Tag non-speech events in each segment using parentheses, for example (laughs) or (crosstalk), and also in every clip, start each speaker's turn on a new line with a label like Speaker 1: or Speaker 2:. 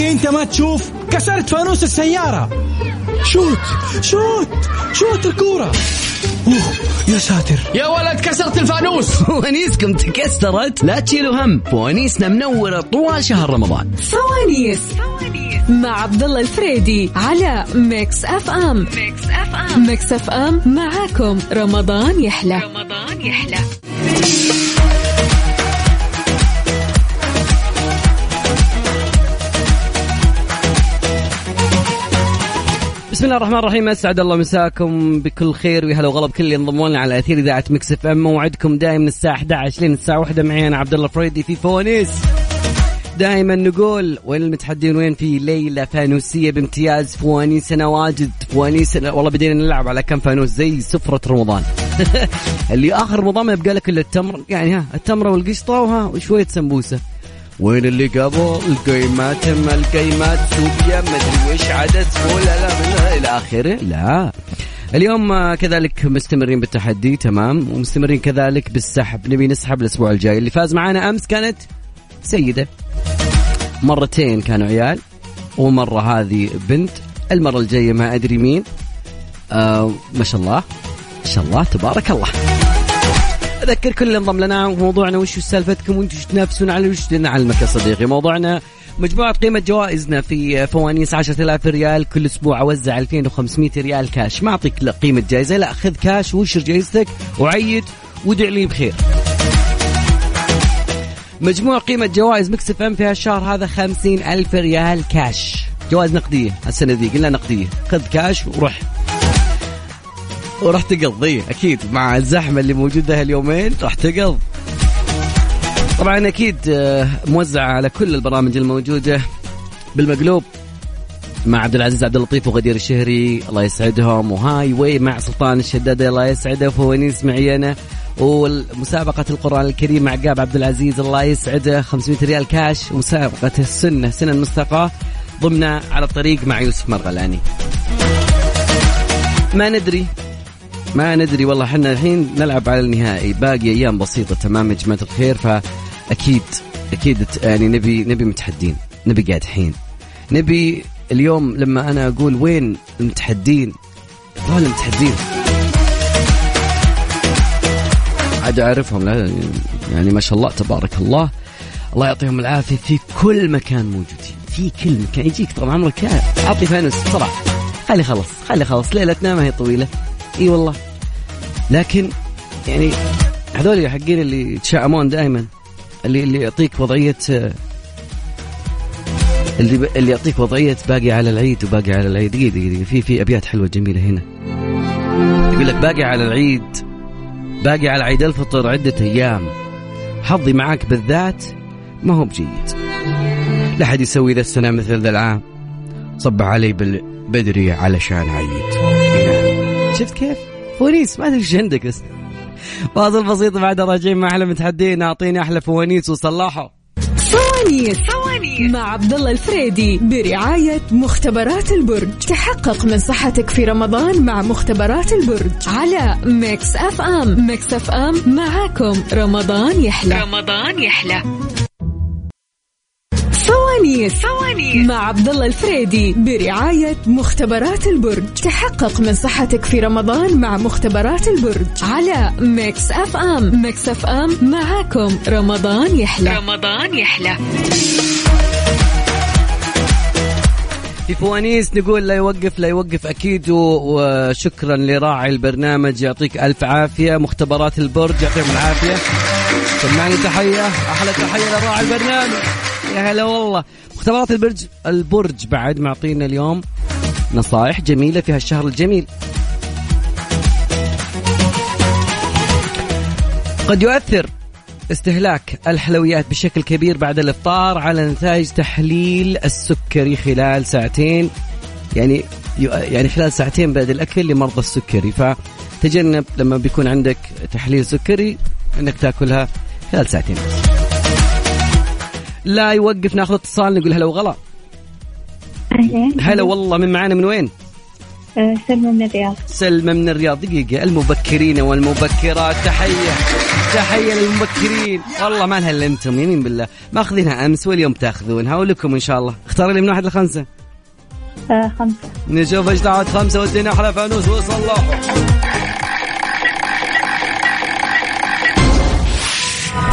Speaker 1: انت ما تشوف كسرت فانوس السيارة شوت شوت شوت الكورة اوه يا ساتر
Speaker 2: يا ولد كسرت الفانوس
Speaker 3: (laughs) فوانيسكم تكسرت لا تشيلوا هم فوانيسنا منورة طوال شهر رمضان
Speaker 4: فوانيس مع عبد الله الفريدي على ميكس اف ام ميكس اف ام ميكس اف ام معاكم رمضان يحلى رمضان يحلى
Speaker 3: بسم الله الرحمن الرحيم اسعد الله مساكم بكل خير ويا هلا وغلا بكل اللي انضموا لنا على اثير اذاعه مكس اف ام موعدكم دائم من الساعه 11 لين الساعه 1 معي انا عبد الله فريدي في فوانيس دائما نقول وين المتحدين وين في ليله فانوسيه بامتياز فوانيسنا واجد فوانيسنا والله بدينا نلعب على كم فانوس زي سفره رمضان (laughs) اللي اخر رمضان ما يبقى لك الا التمر يعني ها التمره والقشطه وها وشويه سمبوسه وين اللي قبل القيمات ما القيمات سوبيا ما ادري وش عدد ولا لا من الى اخره لا اليوم آه، كذلك مستمرين بالتحدي تمام ومستمرين كذلك بالسحب نبي نسحب الاسبوع الجاي اللي فاز معانا امس كانت سيده مرتين كانوا عيال ومره هذه بنت المره الجايه ما ادري مين آه ما شاء الله ما شاء الله تبارك الله اذكر كل اللي انضم لنا موضوعنا وش سالفتكم وانتم تنافسون على وش نعلمك يا صديقي موضوعنا مجموعة قيمة جوائزنا في فوانيس 10000 ريال كل اسبوع اوزع 2500 ريال كاش ما اعطيك لا قيمة جائزة لا خذ كاش وانشر جائزتك وعيد ودع لي بخير مجموع قيمة جوائز مكس اف ام في هالشهر هذا 50000 ريال كاش جوائز نقدية السنة دي قلنا نقدية خذ كاش وروح وراح تقضي اكيد مع الزحمه اللي موجوده هاليومين راح تقض طبعا اكيد موزعه على كل البرامج الموجوده بالمقلوب مع عبد العزيز عبد اللطيف وغدير الشهري الله يسعدهم وهاي واي مع سلطان الشدادي الله يسعده فوانيس معي انا ومسابقة القرآن الكريم مع عقاب عبد العزيز الله يسعده 500 ريال كاش ومسابقة السنة سنة المستقى ضمن على الطريق مع يوسف مرغلاني ما ندري ما ندري والله احنا الحين نلعب على النهائي باقي ايام بسيطه تمام يا جماعه الخير فاكيد اكيد يعني نبي نبي متحدين نبي قاعد حين نبي اليوم لما انا اقول وين المتحدين هذول المتحدين عاد اعرفهم لا يعني ما شاء الله تبارك الله الله يعطيهم العافيه في كل مكان موجودين في كل مكان يجيك طبعا عمرك اعطي فانوس بسرعه خلي خلص خلي خلص ليلتنا ما هي طويله اي والله لكن يعني هذول حقين اللي يتشائمون دائما اللي اللي يعطيك وضعيه اللي ب... اللي يعطيك وضعيه باقي على العيد وباقي على العيد دقيقه دقيقه في في ابيات حلوه جميله هنا يقول لك باقي على العيد باقي على عيد الفطر عده ايام حظي معاك بالذات ما هو بجيد لا حد يسوي ذا السنه مثل ذا العام صب علي بال... بدري علشان عيد شفت كيف؟ فوانيس ما ادري ايش عندك بس فاصل بسيط بعد راجعين مع احلى متحدين اعطيني احلى فوانيس وصلاحه
Speaker 4: فوانيس مع عبد الله الفريدي برعاية مختبرات البرج تحقق من صحتك في رمضان مع مختبرات البرج على ميكس اف ام ميكس اف ام معاكم رمضان يحلى رمضان يحلى فوانيس فوانيس مع عبد الله الفريدي برعاية مختبرات البرج تحقق من صحتك في رمضان مع مختبرات البرج على ميكس اف ام ميكس اف ام معاكم رمضان يحلى رمضان يحلى
Speaker 3: في فوانيس نقول لا يوقف لا يوقف اكيد و- وشكرا لراعي البرنامج يعطيك الف عافيه مختبرات البرج يعطيهم العافيه سمعني تحيه احلى تحيه لراعي البرنامج يا هلا والله مختبرات البرج البرج بعد معطينا اليوم نصائح جميله في هالشهر الجميل قد يؤثر استهلاك الحلويات بشكل كبير بعد الافطار على نتائج تحليل السكري خلال ساعتين يعني يعني خلال ساعتين بعد الاكل لمرضى السكري فتجنب لما بيكون عندك تحليل سكري انك تاكلها خلال ساعتين بس. لا يوقف ناخذ اتصال نقول هلا وغلا
Speaker 5: أهلين
Speaker 3: هلا والله من معانا من وين؟
Speaker 5: آه، سلمى من الرياض
Speaker 3: سلمى من الرياض دقيقة المبكرين والمبكرات تحية تحية للمبكرين والله ما نهلمتم يمين بالله ماخذينها امس واليوم تاخذونها ولكم ان شاء الله اختاري لي من واحد لخمسة
Speaker 5: آه، خمسة
Speaker 3: نشوف ايش دعوة خمسة ودينا احلى فانوس وصل له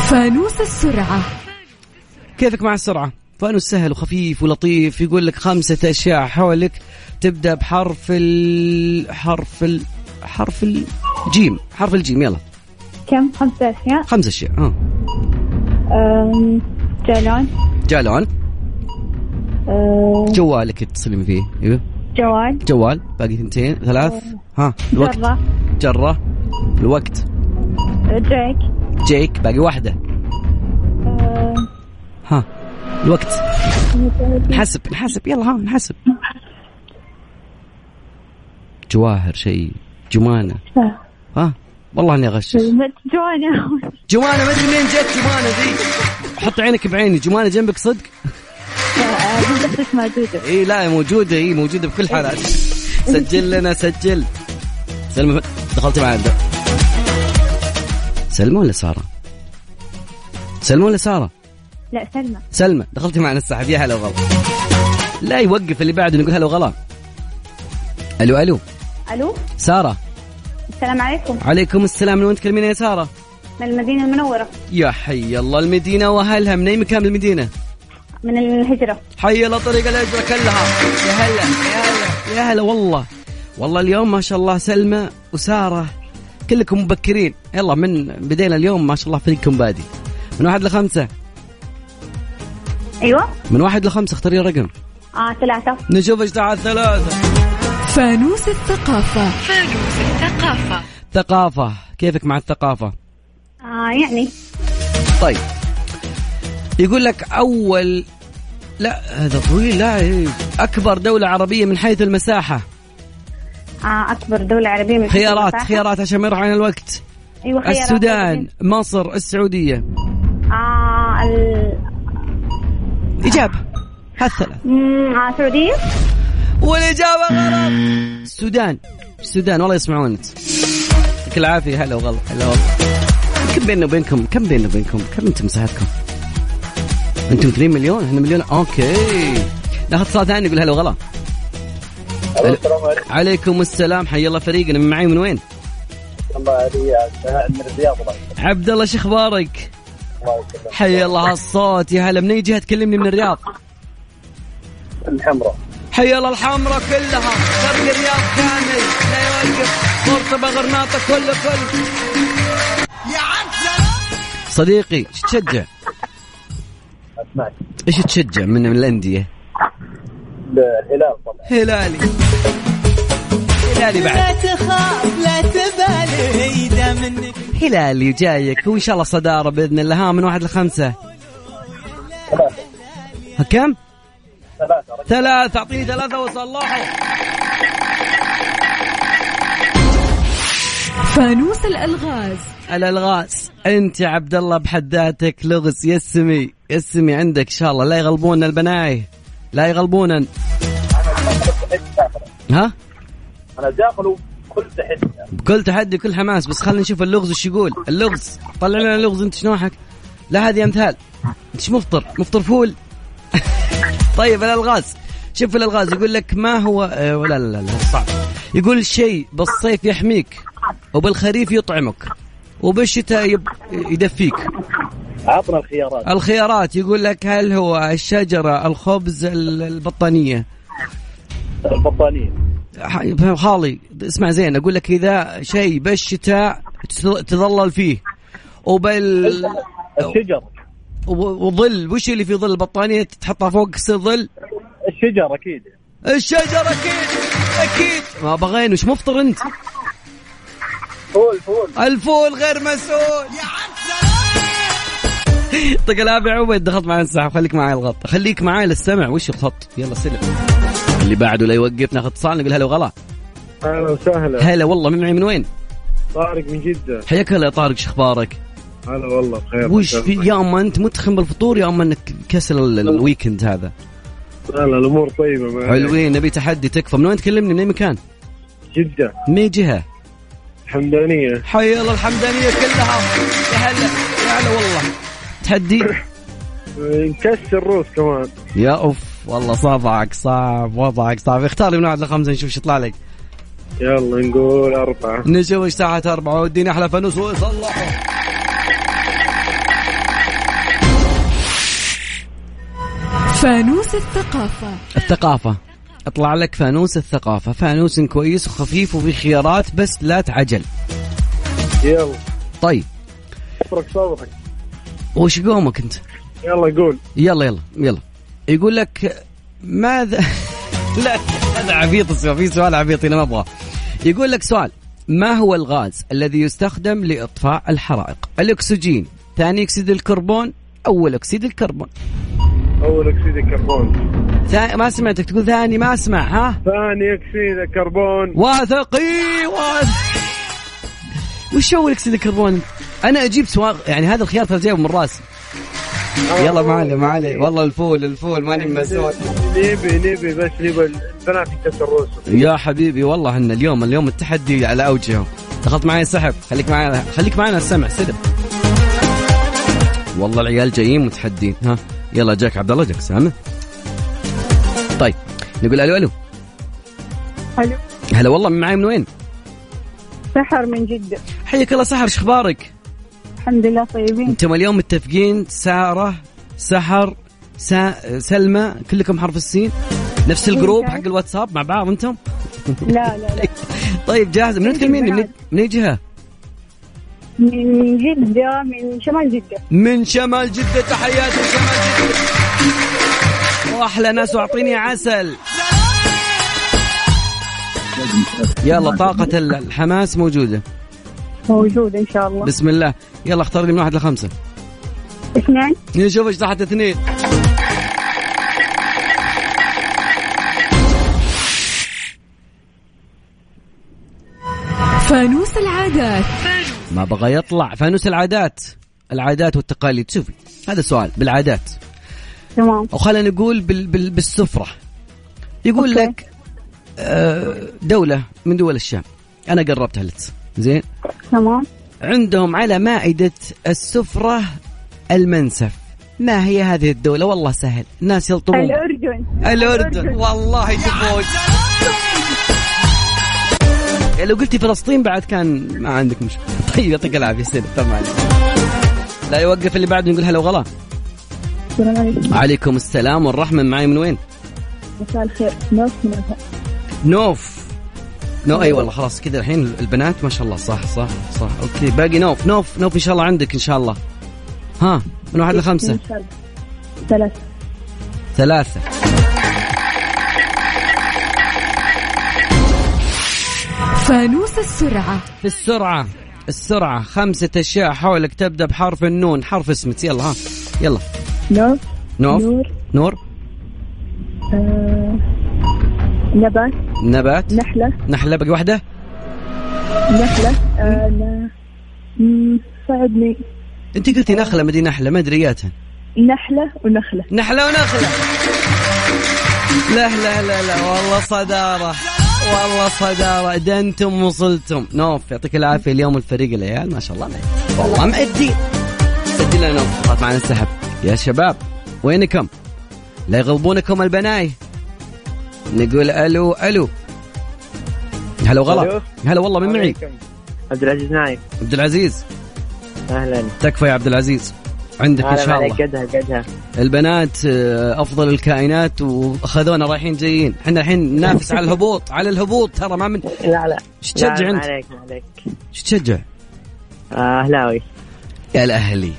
Speaker 4: فانوس السرعة
Speaker 3: كيفك مع السرعة فانوس سهل وخفيف ولطيف يقول لك خمسة اشياء حولك تبدأ بحرف ال حرف ال حرف الجيم حرف الجيم يلا
Speaker 5: كم خمسة أشياء
Speaker 3: خمسة اشياء ها
Speaker 5: آم، جالون
Speaker 3: جالون
Speaker 5: آه،
Speaker 3: جوالك اتصلين فيه ايوه
Speaker 5: جوال
Speaker 3: جوال باقي ثنتين ثلاث ها الوقت
Speaker 5: جرة
Speaker 3: جرة الوقت
Speaker 5: آه، دريك
Speaker 3: جيك باقي واحدة
Speaker 5: آه،
Speaker 3: ها الوقت نحسب نحسب يلا ها نحسب جواهر شيء جمانة
Speaker 5: آه،
Speaker 3: ها والله اني اغشش
Speaker 5: (laughs) جوانا
Speaker 3: جمانة ما ادري منين جت جمانة دي حط عينك بعيني جمانة جنبك صدق
Speaker 5: آه، بس موجودة
Speaker 3: اي لا موجودة اي موجودة بكل حالات سجل لنا سجل سلمى دخلت معي انت سلمى ولا سارة؟ سلمى ولا سارة؟
Speaker 5: لا سلمى
Speaker 3: سلمى دخلتي معنا السحب يا هلا وغلا لا يوقف اللي بعده نقول هلا وغلا الو الو
Speaker 5: ألو
Speaker 3: سارة
Speaker 5: السلام عليكم
Speaker 3: عليكم السلام من وين تكلمين يا سارة؟
Speaker 5: من المدينة المنورة
Speaker 3: يا حي الله المدينة واهلها من اي مكان من المدينة؟
Speaker 5: من الهجرة
Speaker 3: حي الله طريق الهجرة كلها يا هلا يا هلا يا هلا والله والله اليوم ما شاء الله سلمى وسارة كلكم مبكرين يلا من بدينا اليوم ما شاء الله فريقكم بادي من واحد لخمسة
Speaker 5: أيوة
Speaker 3: من واحد لخمسة اختاري رقم
Speaker 5: آه ثلاثة
Speaker 3: نشوف ايش دعاء ثلاثة
Speaker 4: فانوس الثقافة
Speaker 3: ثقافة كيفك مع الثقافة
Speaker 5: آه يعني
Speaker 3: طيب يقول لك أول لا هذا طويل لا إيه. أكبر دولة عربية من حيث المساحة
Speaker 5: آه أكبر دولة عربية من حيث
Speaker 3: خيارات
Speaker 5: المساحة.
Speaker 3: خيارات عشان ما يروح عن الوقت
Speaker 5: أيوة خيارات
Speaker 3: السودان مصر السعودية
Speaker 5: آه ال...
Speaker 3: إجابة هالثلاث
Speaker 5: مم، آه سعودية
Speaker 3: والإجابة غلط السودان السودان والله يسمعونك يعطيك العافية هلا وغلا هلا والله كم بيننا وبينكم كم بيننا وبينكم كم انتم مساحتكم انتم 2 مليون احنا مليون اوكي ناخذ اتصال ثاني نقول هلا وغلا
Speaker 6: السلام عليكم
Speaker 3: عليكم السلام حي الله فريقنا من معي من وين
Speaker 6: الله علي عبد- من الرياض الله يسلمك.
Speaker 3: عبد الله شو اخبارك
Speaker 6: الله يسلمك
Speaker 3: حي الله هالصوت يا هلا من اي جهه تكلمني من الرياض
Speaker 6: الحمراء
Speaker 3: حي الله الحمرة كلها شرق الرياض كامل لا يوقف قرطبة غرناطة كل كل صديقي ايش تشجع؟
Speaker 6: اسمعك
Speaker 3: ايش تشجع من من الاندية؟
Speaker 6: الهلال طبعا
Speaker 3: هلالي هلالي بعد
Speaker 7: لا تخاف لا تبالي هيدا منك
Speaker 3: هلالي جايك وان شاء الله صدارة باذن الله ها من واحد لخمسة
Speaker 6: ثلاثة
Speaker 3: ها كم؟
Speaker 6: ثلاثة رجل
Speaker 3: ثلاثة اعطيني ثلاثة وصلحوا
Speaker 4: فانوس الألغاز
Speaker 3: الالغاز انت يا عبد الله بحد ذاتك لغز يسمي يسمي عندك ان شاء الله لا يغلبون البناي لا يغلبون
Speaker 6: داخل.
Speaker 3: ها؟
Speaker 6: انا داخل كل تحدي يعني.
Speaker 3: بكل تحدي كل حماس بس خلينا نشوف اللغز وش يقول اللغز طلع لنا اللغز انت شنو نوعك لا هذه امثال انت شو مفطر مفطر فول (laughs) طيب الالغاز شوف الالغاز يقول لك ما هو اه لا لا لا, لا صعب يقول شيء بالصيف يحميك وبالخريف يطعمك وبالشتاء يب... يدفيك
Speaker 6: عطنا الخيارات
Speaker 3: الخيارات يقول لك هل هو الشجرة الخبز ال- البطانية
Speaker 6: البطانية
Speaker 3: ح- خالي اسمع زين اقول لك اذا شيء بالشتاء تظ- تظلل فيه وبال
Speaker 6: الشجر
Speaker 3: و- وظل وش اللي في ظل البطانيه تحطها فوق يصير ظل
Speaker 6: الشجر اكيد يعني.
Speaker 3: الشجر اكيد اكيد ما بغين وش مفطر انت
Speaker 6: فول فول
Speaker 3: الفول غير مسؤول يعطيك العافية يا عبيد دخلت معي السحب خليك معي الغط خليك معي للسمع وش الخط يلا سلم اللي بعده لا يوقف ناخذ اتصال نقول هلا وغلا
Speaker 8: اهلا وسهلا
Speaker 3: هلا والله من معي من وين
Speaker 8: طارق من جده
Speaker 3: حياك هلا يا طارق شو اخبارك
Speaker 8: هلا والله بخير
Speaker 3: وش في يا اما انت متخن بالفطور يا اما انك كسل ال- الويكند هذا
Speaker 8: هلا الامور طيبه ما عليك.
Speaker 3: حلوين نبي تحدي تكفى من وين تكلمني من اي مكان
Speaker 8: جده
Speaker 3: من اي جهه
Speaker 8: الحمدانيه
Speaker 3: حي الله الحمدانيه كلها يا هلا يا هلا والله تحدي
Speaker 8: مكسر روس كمان
Speaker 3: يا اوف والله صبعك صعب وضعك صعب اختار لي من واحد لخمسه نشوف شو يطلع لك
Speaker 8: يلا نقول اربعه
Speaker 3: نشوف ايش ساعة أربعة ودينا أحلى فانوس وصلحه
Speaker 4: فانوس الثقافة
Speaker 3: الثقافة اطلع لك فانوس الثقافة فانوس كويس وخفيف وفي خيارات بس لا تعجل
Speaker 8: يلا
Speaker 3: طيب
Speaker 8: افرك صوتك
Speaker 3: وش قومك أنت
Speaker 8: يلا قول
Speaker 3: يلا يلا يلا يقول لك ماذا (laughs) لا هذا عبيط السؤال في سؤال عبيط أنا ما أبغاه يقول لك سؤال ما هو الغاز الذي يستخدم لإطفاء الحرائق الأكسجين ثاني أكسيد الكربون أول أكسيد الكربون
Speaker 8: اول اكسيد الكربون
Speaker 3: ثاني ما سمعتك تقول ثاني ما أسمع ها
Speaker 8: ثاني اكسيد الكربون
Speaker 3: واثقي واث وش اول اكسيد الكربون؟ انا اجيب سواق يعني هذا الخيار ترى جايبه من راسي يلا ما علي ما علي والله الفول الفول ماني مسؤول
Speaker 8: نبي نبي بس نبي البنات يكسر روسهم
Speaker 3: يا حبيبي والله احنا اليوم اليوم التحدي على اوجهه دخلت معي سحب خليك معنا خليك معنا السمع سلم والله العيال جايين متحدين ها يلا جاك عبد الله جاك سامع طيب نقول الو الو
Speaker 5: الو
Speaker 3: هلا والله معي من وين؟
Speaker 5: سحر من جدة
Speaker 3: حياك الله سحر شو اخبارك؟
Speaker 5: الحمد لله طيبين
Speaker 3: انتم اليوم متفقين ساره سحر سا... سلمى كلكم حرف السين نفس الجروب حق الواتساب مع بعض انتم
Speaker 5: لا لا لا
Speaker 3: طيب جاهزه من تكلميني من من أي جهه
Speaker 5: من من جدة من شمال جدة
Speaker 3: من شمال جده تحياتي شمال جده واحلى ناس واعطيني عسل يلا طاقة ال- الحماس موجودة
Speaker 5: موجود إن شاء الله
Speaker 3: بسم الله يلا اختار لي من واحد لخمسة
Speaker 5: اثنين
Speaker 3: نشوف ايش تحت اثنين
Speaker 4: فانوس العادات
Speaker 3: ما بغى يطلع فانوس العادات العادات والتقاليد شوفي هذا سؤال بالعادات
Speaker 5: تمام
Speaker 3: او خلينا نقول بال بال بالسفره يقول
Speaker 5: أوكي.
Speaker 3: لك آه، دوله من دول الشام انا قربتها لك زين
Speaker 5: تمام
Speaker 3: عندهم على مائده السفره المنسف ما هي هذه الدوله والله سهل الناس يلطمون
Speaker 5: الأردن
Speaker 3: الاردن والله تفوز يعني لو قلتي فلسطين بعد كان ما عندك مشكله (laughs) طيب يعطيك العافيه سيد تمام لا يوقف اللي بعده نقول هلا وغلا
Speaker 5: السلام عليكم
Speaker 3: عليكم السلام والرحمه معي من وين
Speaker 5: مساء الخير ناس من
Speaker 3: نوف نو اي والله خلاص كذا الحين البنات ما شاء الله صح صح صح اوكي باقي نوف نوف نوف ان شاء الله عندك ان شاء الله ها من واحد لخمسه
Speaker 5: ثلاثة
Speaker 3: ثلاثه
Speaker 4: فانوس السرعة
Speaker 3: في السرعه السرعه خمسه اشياء حولك تبدا بحرف النون حرف اسمك يلا ها يلا
Speaker 5: نور
Speaker 3: نوف
Speaker 5: نور
Speaker 3: نور
Speaker 5: آه، نبات
Speaker 3: نبات
Speaker 5: نحلة
Speaker 3: نحله باقي واحده
Speaker 5: نحلة آه، ن- مم، ساعدني
Speaker 3: انت قلتي نخله ما دي نحله ما ادري اياتها
Speaker 5: نحلة ونخلة
Speaker 3: نحلة ونخلة لا لا لا لا والله صدارة والله صدارة ده انتم وصلتم نوف يعطيك العافية اليوم الفريق العيال ما شاء الله معي والله مأدي سجل لنا نوف طلعت معنا السحب يا شباب وينكم؟ لا يغلبونكم البناي نقول الو الو هلا وغلا
Speaker 6: ألو.
Speaker 3: هلا والله من معي
Speaker 6: عليكم. عبد العزيز نايف
Speaker 3: عبد العزيز
Speaker 6: اهلا
Speaker 3: تكفى يا عبد العزيز عندك ان
Speaker 6: هلا
Speaker 3: شاء
Speaker 6: عليك
Speaker 3: الله
Speaker 6: قدها قدها
Speaker 3: البنات آه، افضل الكائنات واخذونا رايحين جايين احنا الحين ننافس على الهبوط على الهبوط ترى ما من
Speaker 6: لا لا
Speaker 3: ايش تشجع
Speaker 6: لا، ما
Speaker 3: انت
Speaker 6: عليك ما عليك
Speaker 3: ايش تشجع
Speaker 6: آه، اهلاوي
Speaker 3: يا الاهلي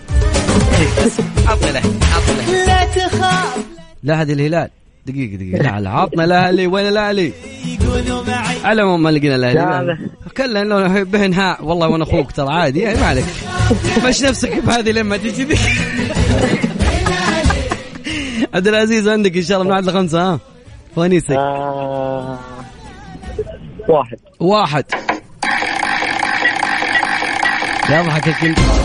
Speaker 3: عطنا الاهلي عطنا الأهلي.
Speaker 7: لا تخاف
Speaker 3: لا هذه الهلال دقيقة دقيقة لا لا عطنا الاهلي وين الاهلي؟
Speaker 7: يقولوا معي
Speaker 3: على العموم ما لقينا
Speaker 6: لا،
Speaker 3: الاهلي
Speaker 6: لا.
Speaker 3: كلا لو بهنها والله وانا اخوك ترى عادي يعني ما عليك مش نفسك بهذه لما تجي ذي عبد العزيز عندك ان شاء الله من عند الخمسة ها فوانيسك
Speaker 6: آه، واحد
Speaker 3: واحد يضحك الكنترول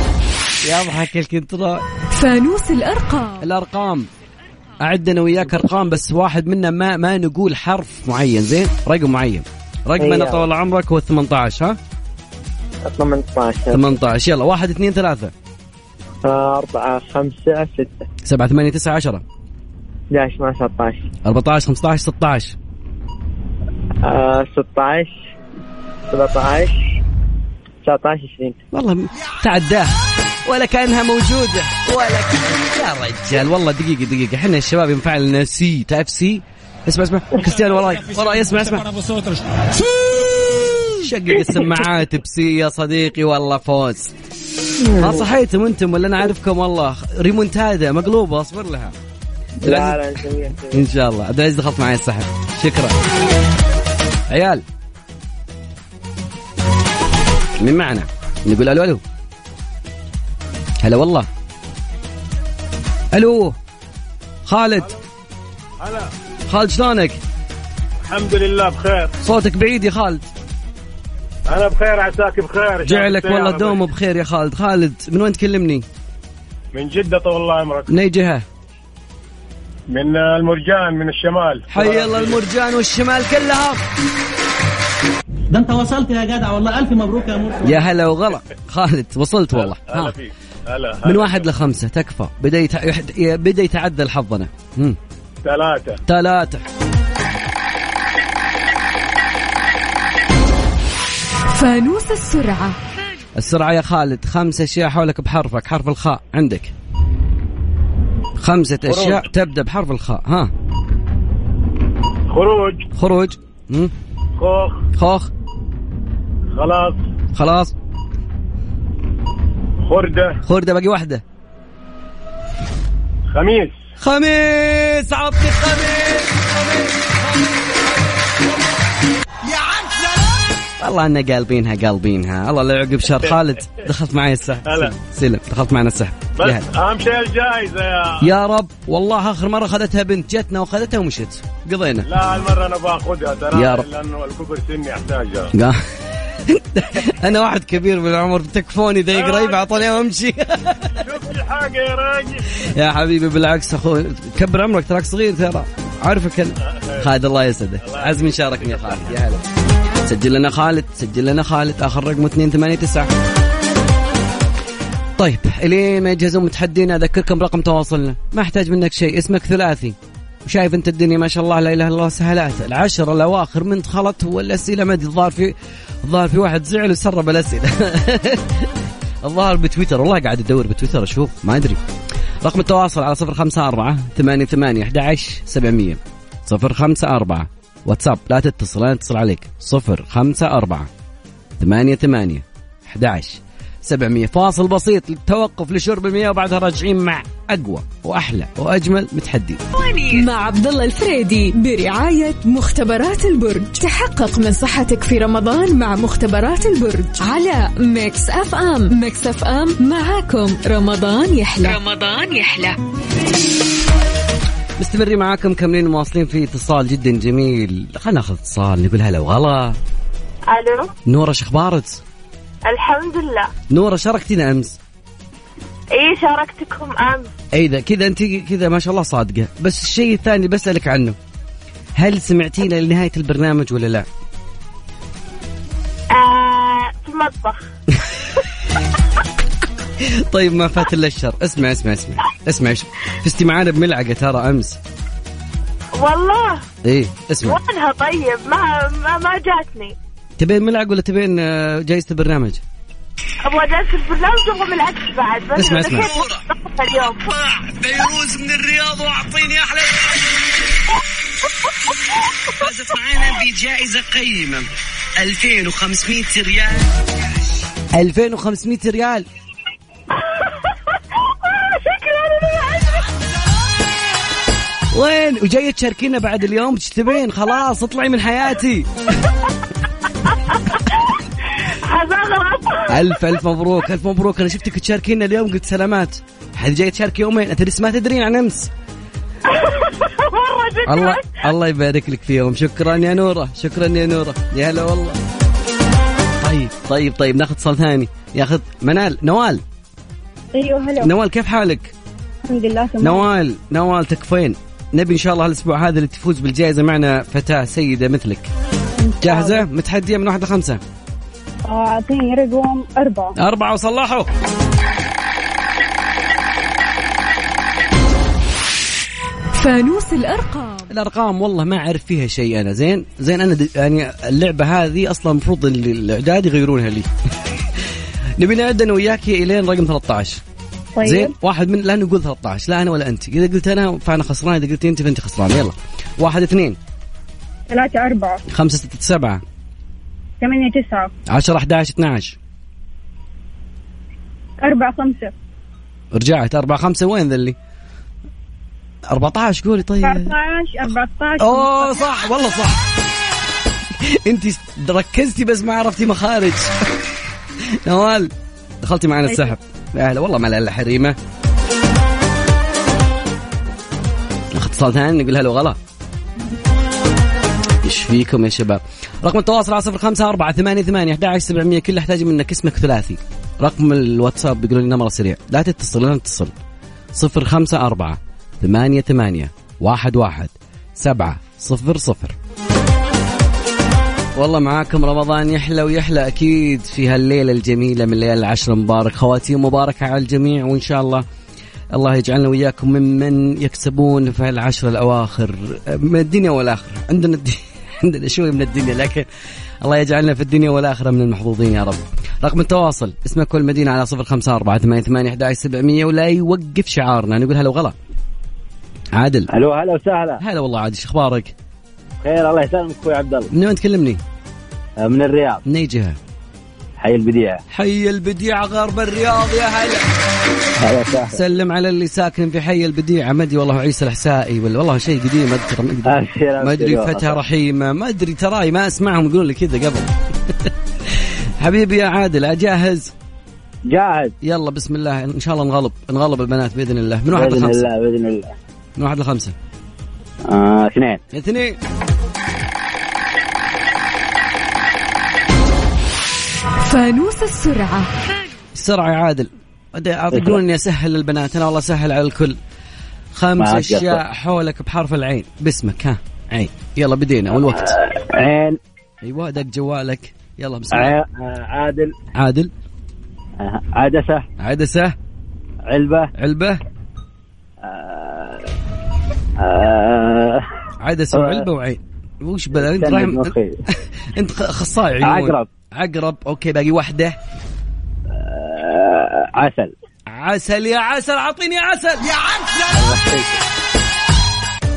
Speaker 3: يضحك الكنترول
Speaker 4: فانوس الأرقام
Speaker 3: الارقام اعدنا وياك ارقام بس واحد منا ما ما نقول حرف معين زين رقم معين رقمنا
Speaker 6: أيوة.
Speaker 3: طول عمرك هو 18 ها
Speaker 6: 18
Speaker 3: 18 يلا واحد اثنين ثلاثة
Speaker 6: أربعة خمسة ستة
Speaker 3: سبعة ثمانية تسعة عشرة
Speaker 6: 11 مع 13
Speaker 3: 14 15 16
Speaker 6: آه، 16 17 19 20
Speaker 3: والله م- تعداه ولا كانها موجودة ولا كان يا رجال والله دقيقة دقيقة احنا الشباب ينفع لنا سي تعرف سي اسمع اسمع كريستيانو وراي وراي اسمع اسمع شقق السماعات بسي يا صديقي والله فوز ما صحيتم انتم ولا انا عارفكم والله ريمونتادا مقلوبة اصبر لها
Speaker 6: لا لا نسويها نسويها.
Speaker 3: ان شاء الله عبد العزيز دخلت معي السحب شكرا عيال مين معنا؟ نقول الو الو هلا والله الو خالد
Speaker 8: هلا
Speaker 3: خالد شلونك؟
Speaker 8: الحمد لله بخير
Speaker 3: صوتك بعيد يا خالد
Speaker 8: انا بخير عساك بخير
Speaker 3: جعلك
Speaker 8: شعبتي
Speaker 3: والله
Speaker 8: يا
Speaker 3: دوم
Speaker 8: ربي.
Speaker 3: بخير يا خالد خالد من وين تكلمني؟
Speaker 8: من جدة طول الله عمرك
Speaker 3: من اي جهة؟
Speaker 8: من المرجان من الشمال
Speaker 3: حي الله المرجان والشمال كلها
Speaker 7: ده انت وصلت يا جدع والله الف مبروك يا مرسي
Speaker 3: يا هلا وغلا خالد وصلت والله
Speaker 8: هلا
Speaker 3: ها.
Speaker 8: فيك هلا هلا.
Speaker 3: من واحد لخمسة تكفى بدأ يتع... يحد- بدأ يتعدل حظنا مم.
Speaker 8: ثلاثة
Speaker 3: ثلاثة
Speaker 4: فانوس السرعة
Speaker 3: السرعة يا خالد خمس أشياء حولك بحرفك حرف الخاء عندك خمسة أشياء تبدأ بحرف الخاء ها
Speaker 8: خروج
Speaker 3: خروج مم.
Speaker 8: خوخ
Speaker 3: خوخ
Speaker 8: خلاص
Speaker 3: خلاص
Speaker 8: خردة
Speaker 3: خردة باقي واحدة
Speaker 8: خميس
Speaker 3: خميس عطني خميس خميس، خميس. والله انا قالبينها قالبينها الله لا يعقب شر خالد دخلت معي السحب
Speaker 8: هلا.
Speaker 3: سلم دخلت معنا السحب يا هلا.
Speaker 8: بس اهم شيء الجائزة يا
Speaker 3: يا رب والله اخر مره اخذتها بنت جتنا واخذتها ومشت قضينا
Speaker 8: لا المرة انا باخذها ترى
Speaker 3: يا رب.
Speaker 8: لانه الكبر سني احتاجها
Speaker 3: قا- (laughs) انا واحد كبير بالعمر تكفوني ذي قريب اعطوني (laughs) وامشي
Speaker 8: شوف الحاجة يا راجل
Speaker 3: يا حبيبي بالعكس اخوي كبر عمرك تراك صغير ترى عارفك انا خالد الله يسعدك عزمي شاركني يا خالد يا هلا سجل لنا خالد سجل لنا خالد اخر رقمه 289 طيب الين ما يجهزون متحدينا اذكركم برقم تواصلنا ما احتاج منك شيء اسمك ثلاثي وشايف انت الدنيا ما شاء الله لا اله الا الله سهلات العشر الاواخر من خلط والاسئله ما ادري الظاهر في الظاهر في واحد زعل وسرب الاسئله (laughs) الظاهر بتويتر والله قاعد ادور بتويتر اشوف ما ادري رقم التواصل على 054 88 11 700 054 واتساب لا تتصل لا نتصل عليك 054 88 11 700 فاصل بسيط للتوقف لشرب المياه وبعدها راجعين مع اقوى واحلى واجمل متحدي
Speaker 4: مع عبد الله الفريدي برعاية مختبرات البرج تحقق من صحتك في رمضان مع مختبرات البرج على ميكس اف ام ميكس اف ام معاكم رمضان يحلى رمضان يحلى
Speaker 3: مستمرين معاكم كاملين مواصلين في اتصال جدا جميل خلينا ناخذ اتصال نقول هلا وغلا
Speaker 5: الو
Speaker 3: نوره شخبارت
Speaker 5: الحمد لله
Speaker 3: نوره شاركتنا امس
Speaker 5: اي شاركتكم امس
Speaker 3: اي ذا إيه، كذا انت كذا ما شاء الله صادقه بس الشيء الثاني بسالك عنه هل سمعتينا لنهايه البرنامج ولا لا
Speaker 5: آه في المطبخ
Speaker 3: طيب ما فات الا الشر اسمع اسمع اسمع اسمع إيش- فزتي معانا بملعقه ترى امس
Speaker 5: والله
Speaker 3: ايه اسمع
Speaker 5: وينها طيب ما ما, ما جاتني
Speaker 3: تبين ملعقه ولا تبين آه، جايزه البرنامج
Speaker 5: ابغى جالس البرنامج وابغى من العكس بعد بس
Speaker 3: اسمع، اسمع.
Speaker 5: ذكرت اليوم
Speaker 9: فيروز من الرياض واعطيني احلى فازت معانا بجائزه قيمه 2500 ريال
Speaker 3: 2500 ريال
Speaker 5: آه،
Speaker 3: وين وجاية تشاركينا بعد اليوم ايش تبين خلاص اطلعي من حياتي
Speaker 5: (laughs)
Speaker 3: الف الف مبروك الف مبروك انا شفتك تشاركينا اليوم قلت سلامات حد جاي تشارك يومين انت لسه ما تدرين عن امس الله الله يبارك لك فيهم شكرا يا نوره شكرا يا نوره يا هلا والله طيب طيب طيب ناخذ اتصال ثاني ياخذ منال نوال
Speaker 5: ايوه هلا
Speaker 3: نوال كيف حالك؟
Speaker 5: الحمد لله تمام
Speaker 3: نوال نوال تكفين نبي ان شاء الله الاسبوع هذا اللي تفوز بالجائزه معنا فتاه سيده مثلك جاهزه متحديه من واحد لخمسه
Speaker 5: أعطيني رقم أربعة
Speaker 3: أربعة وصلحوا
Speaker 4: فانوس الأرقام
Speaker 3: الارقام والله ما اعرف فيها شيء انا زين زين انا د- يعني اللعبه هذه اصلا المفروض ال- الاعداد يغيرونها لي (laughs) نبي نعد انا وياك الين رقم 13
Speaker 5: طيب
Speaker 3: زين واحد من لا نقول 13 لا انا ولا انت اذا قلت انا فانا خسران اذا قلت انت فانت خسران يلا واحد اثنين
Speaker 5: ثلاثة أربعة
Speaker 3: خمسة ستة سبعة
Speaker 5: ثمانية تسعة
Speaker 3: عشرة أحد عشر اثنا عشر
Speaker 5: أربعة خمسة
Speaker 3: رجعت أربعة خمسة وين ذلي 14 قولي طيب
Speaker 5: 14 14
Speaker 3: اوه صح والله صح انت ركزتي بس ما عرفتي مخارج (laughs) نوال دخلتي معنا السحب يا هلا والله ما لها الا حريمه ناخذ اتصال ثاني نقول هلا وغلا ايش فيكم يا شباب رقم التواصل على صفر خمسة أربعة ثمانية ثمانية أحد سبعمية كل أحتاج منك اسمك ثلاثي رقم الواتساب بيقولوا لي نمرة سريع لا تتصل لا تتصل صفر خمسة أربعة ثمانية ثمانية واحد واحد سبعة صفر صفر والله معاكم رمضان يحلى ويحلى أكيد في هالليلة الجميلة من ليالي العشر مبارك خواتيم مباركة على الجميع وإن شاء الله الله يجعلنا وإياكم ممن يكسبون في العشر الأواخر من الدنيا والآخرة عندنا الدنيا (laughs) عندنا شوي من الدنيا لكن الله يجعلنا في الدنيا والآخرة من المحظوظين يا رب رقم التواصل اسمك والمدينة على صفر خمسة أربعة ثمانية ثمانية سبعمية ولا يوقف شعارنا نقول هلا وغلا عادل
Speaker 6: الو هلا وسهلا
Speaker 3: هلا والله عادل شو اخبارك؟
Speaker 6: خير الله يسلمك اخوي عبد الله
Speaker 3: من وين تكلمني؟
Speaker 6: آه، من الرياض
Speaker 3: من اي جهه؟
Speaker 6: حي البديعه
Speaker 3: حي البديعه غرب الرياض يا هلا
Speaker 6: هلا وسهلا
Speaker 3: سلم على اللي ساكن في حي البديعه ما ادري والله عيسى الحسائي ولا والله شيء قديم اذكر ما أدري.
Speaker 6: أبشر،
Speaker 3: ما ادري
Speaker 6: أبشر.
Speaker 3: فتى رحيمه ما ادري تراي ما اسمعهم يقولون لي كذا قبل (laughs) حبيبي يا عادل اجهز
Speaker 6: جاهز
Speaker 3: يلا بسم الله ان شاء الله نغلب نغلب البنات باذن الله من واحد
Speaker 6: باذن
Speaker 3: لخمسه
Speaker 6: الله باذن الله
Speaker 3: من واحد لخمسه
Speaker 6: آه، اثنين
Speaker 3: اثنين
Speaker 4: فانوس السرعة
Speaker 3: بسرعة يا عادل أدي-
Speaker 6: إيه.
Speaker 3: يقولون اني اسهل للبنات انا والله اسهل على الكل خمس
Speaker 6: معك
Speaker 3: اشياء
Speaker 6: يلا.
Speaker 3: حولك بحرف العين باسمك ها عين يلا بدينا والوقت
Speaker 6: آه، عين
Speaker 3: ايوه دق جوالك يلا بسم الله
Speaker 6: ع- آه، عادل
Speaker 3: عادل
Speaker 6: آه، عدسه
Speaker 3: عدسه
Speaker 6: علبه
Speaker 3: علبه
Speaker 6: آه،
Speaker 3: عدسه
Speaker 6: آه.
Speaker 3: وعلبه وعين وش بلا انت
Speaker 6: استنى
Speaker 3: رايح (laughs)
Speaker 6: بمخي.
Speaker 3: انت خ- اخصائي عيون
Speaker 6: عقرب.
Speaker 3: عقرب اوكي باقي واحده
Speaker 6: آه، عسل
Speaker 3: عسل يا عسل اعطيني عسل يا عسل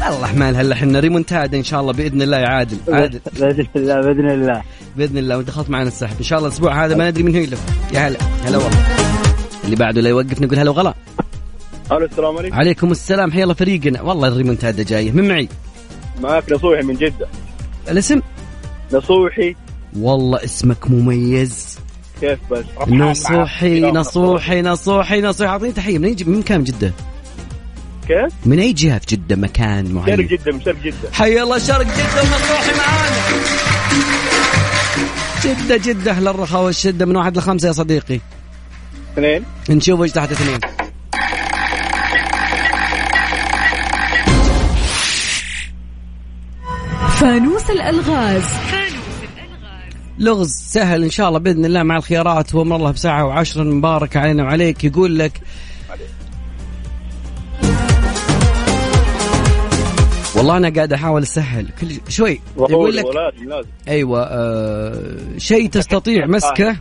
Speaker 3: الله ما لها الا احنا ريمونتادا ان شاء الله باذن الله يا عادل عادل
Speaker 6: باذن الله باذن الله
Speaker 3: باذن الله وانت خلط معنا السحب ان شاء الله الاسبوع هذا ما ندري من هو يلف يا هلا هلا والله اللي بعده لا يوقف نقول هلا وغلا
Speaker 8: الو السلام عليكم
Speaker 3: عليكم السلام حيا الله فريقنا والله الريمونتادا جايه من معي
Speaker 8: معك نصوحي من جده
Speaker 3: الاسم
Speaker 8: نصوحي
Speaker 3: والله اسمك مميز
Speaker 8: كيف بس رفعان معك.
Speaker 3: نصوحي
Speaker 8: كلام
Speaker 3: نصوحي نصوحي نصوحي اعطيني تحيه من اي ج- من مكان جده
Speaker 8: كيف؟
Speaker 3: من اي جهه في جده مكان
Speaker 8: شرق
Speaker 3: معين
Speaker 8: جده من شرق جده
Speaker 3: حيا الله شرق جده ونصوحي معانا جده جده اهل الرخاء والشده من واحد لخمسه يا صديقي
Speaker 8: اثنين
Speaker 3: نشوف ايش تحت اثنين
Speaker 4: فانوس الألغاز
Speaker 3: لغز سهل ان شاء الله باذن الله مع الخيارات وامر الله بساعه وعشرا مبارك علينا وعليك يقول لك والله انا قاعد احاول اسهل كل شوي يقول لك
Speaker 8: لازم لازم
Speaker 3: ايوه آه شيء تستطيع مسكه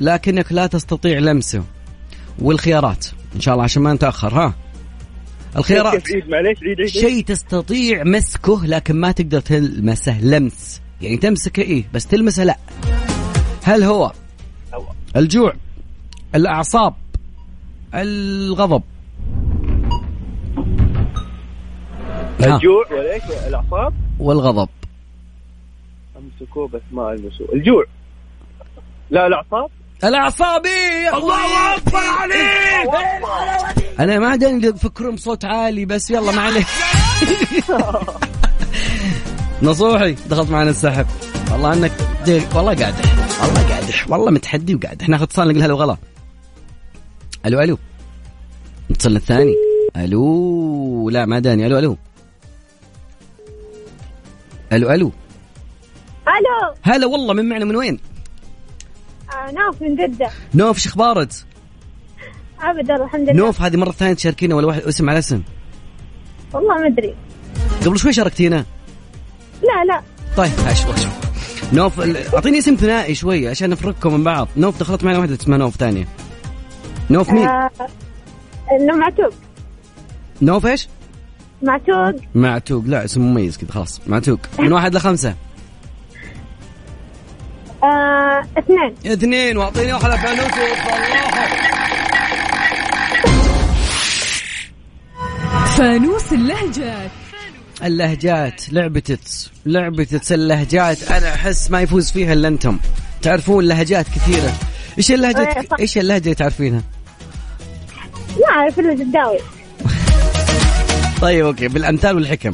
Speaker 3: لكنك لا تستطيع لمسه والخيارات ان شاء الله عشان ما نتاخر ها الخيارات
Speaker 8: كيف عيد معليش عيد عيد عيد.
Speaker 3: شيء تستطيع مسكه لكن ما تقدر تلمسه لمس يعني تمسكه ايه بس تلمسه لا هل هو الجوع الاعصاب الغضب ها،
Speaker 8: الجوع ولا ايش الاعصاب
Speaker 3: والغضب
Speaker 8: امسكوه بس ما المسوه الجوع لا الاعصاب
Speaker 3: الاعصاب إيه؟ الله اكبر عليك انا ما عاد عندي فكرهم بصوت عالي بس يلا ما عليك (laughs) نصوحي دخلت معنا السحب والله انك ديك. والله قادح والله قادح والله متحدي وقادح ناخذ اتصال نقول هلا وغلا الو الو اتصل الثاني الو لا ما داني الو الو الو الو
Speaker 5: ألو
Speaker 3: هلا والله من معنا من وين؟
Speaker 5: آه، ناف من جدة
Speaker 3: نوف ايش اخبارك؟
Speaker 5: أبدا الحمد لله
Speaker 3: نوف هذه مره ثانيه تشاركينا ولا واحد اسم على اسم
Speaker 5: والله ما أدري
Speaker 3: قبل شوي شاركتينا
Speaker 5: لا لا
Speaker 3: طيب اشوف اشوف نوف ال- اعطيني اسم ثنائي شوي عشان نفرقكم من بعض نوف دخلت معنا واحده اسمها نوف ثانيه نوف مين؟
Speaker 5: آه، إنه معتوق
Speaker 3: نوف ايش؟
Speaker 5: معتوق
Speaker 3: معتوق لا اسم مميز كذا خلاص معتوق من واحد لخمسه
Speaker 5: آه، اثنين
Speaker 3: اثنين واعطيني واحد فانوس الله
Speaker 4: فانوس اللهجات
Speaker 3: اللهجات لعبتت لعبتت اللهجات انا احس ما يفوز فيها الا انتم تعرفون لهجات كثيره ايش
Speaker 5: إيه،
Speaker 3: اللهجات
Speaker 5: صح.
Speaker 3: ايش اللهجه اللي تعرفينها؟
Speaker 5: ما أعرف إلا جداوي
Speaker 3: (laughs) طيب اوكي بالامثال والحكم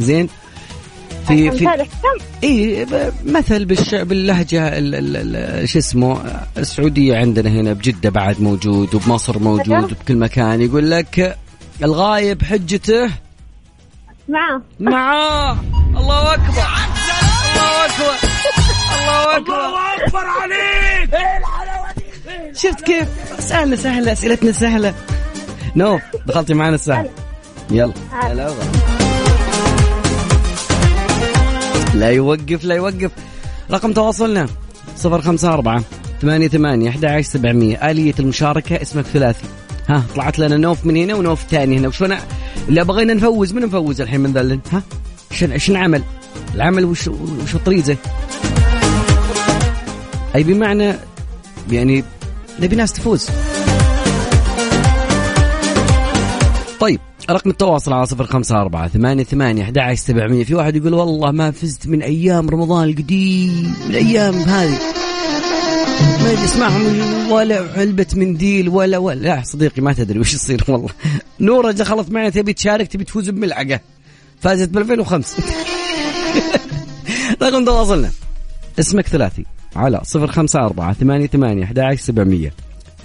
Speaker 3: زين في في
Speaker 5: أمثال الحكم
Speaker 3: اي ب- مثل بالش... باللهجه ال... ال... ال... شو اسمه السعوديه عندنا هنا بجده بعد موجود وبمصر موجود وبكل مكان يقول لك الغايب حجته
Speaker 5: معاه
Speaker 3: معاه الله اكبر الله اكبر الله اكبر الله اكبر عليك إيه. شفت كيف اسالنا سهله اسئلتنا سهله نوف دخلتي معانا السهل يلا هلا والله. لا يوقف لا يوقف رقم تواصلنا 054 88 11700 آلية المشاركة اسمك ثلاثي ها طلعت لنا نوف من هنا ونوف ثاني هنا وشلون لا بغينا نفوز من نفوز الحين من ذلن ها شن ايش نعمل العمل وش وش طريزه اي بمعنى يعني نبي ناس تفوز طيب رقم التواصل على صفر خمسة أربعة ثمانية ثمانية أحد عشر سبعمية في واحد يقول والله ما فزت من أيام رمضان القديم من أيام هذه ما أدري اسمعهم ولا علبة منديل ولا ولا لا صديقي ما تدري وش يصير والله نورة دخلت معنا تبي تشارك تبي تفوز بملعقة فازت ب 2005 (laughs) رقم تواصلنا اسمك ثلاثي على صفر خمسة أربعة ثمانية ثمانية أحد عشر سبعمية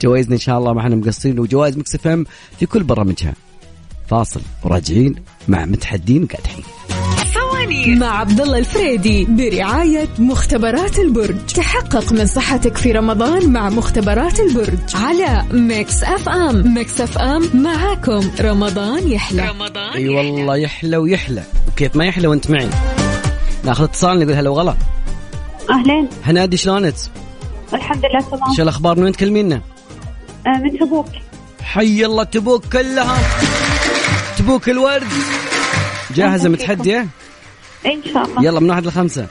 Speaker 3: جوائزنا إن شاء الله ما احنا مقصرين وجوائز مكسف أم في كل برامجها فاصل وراجعين مع متحدين وقادحين
Speaker 4: مع عبد الله الفريدي برعاية مختبرات البرج تحقق من صحتك في رمضان مع مختبرات البرج على ميكس اف ام ميكس اف ام معاكم رمضان يحلى
Speaker 3: اي أيوة والله يحلى ويحلى وكيف ما يحلى وانت معي ناخذ اتصال نقول هلا وغلا
Speaker 5: أهلين
Speaker 3: هنادي شلونك؟
Speaker 5: الحمد لله تمام
Speaker 3: شو الاخبار من وين تكلمينا؟
Speaker 5: آه، من تبوك
Speaker 3: حي الله تبوك كلها تبوك الورد جاهزه متحديه؟
Speaker 5: إن شاء الله
Speaker 3: يلا من واحد لخمسه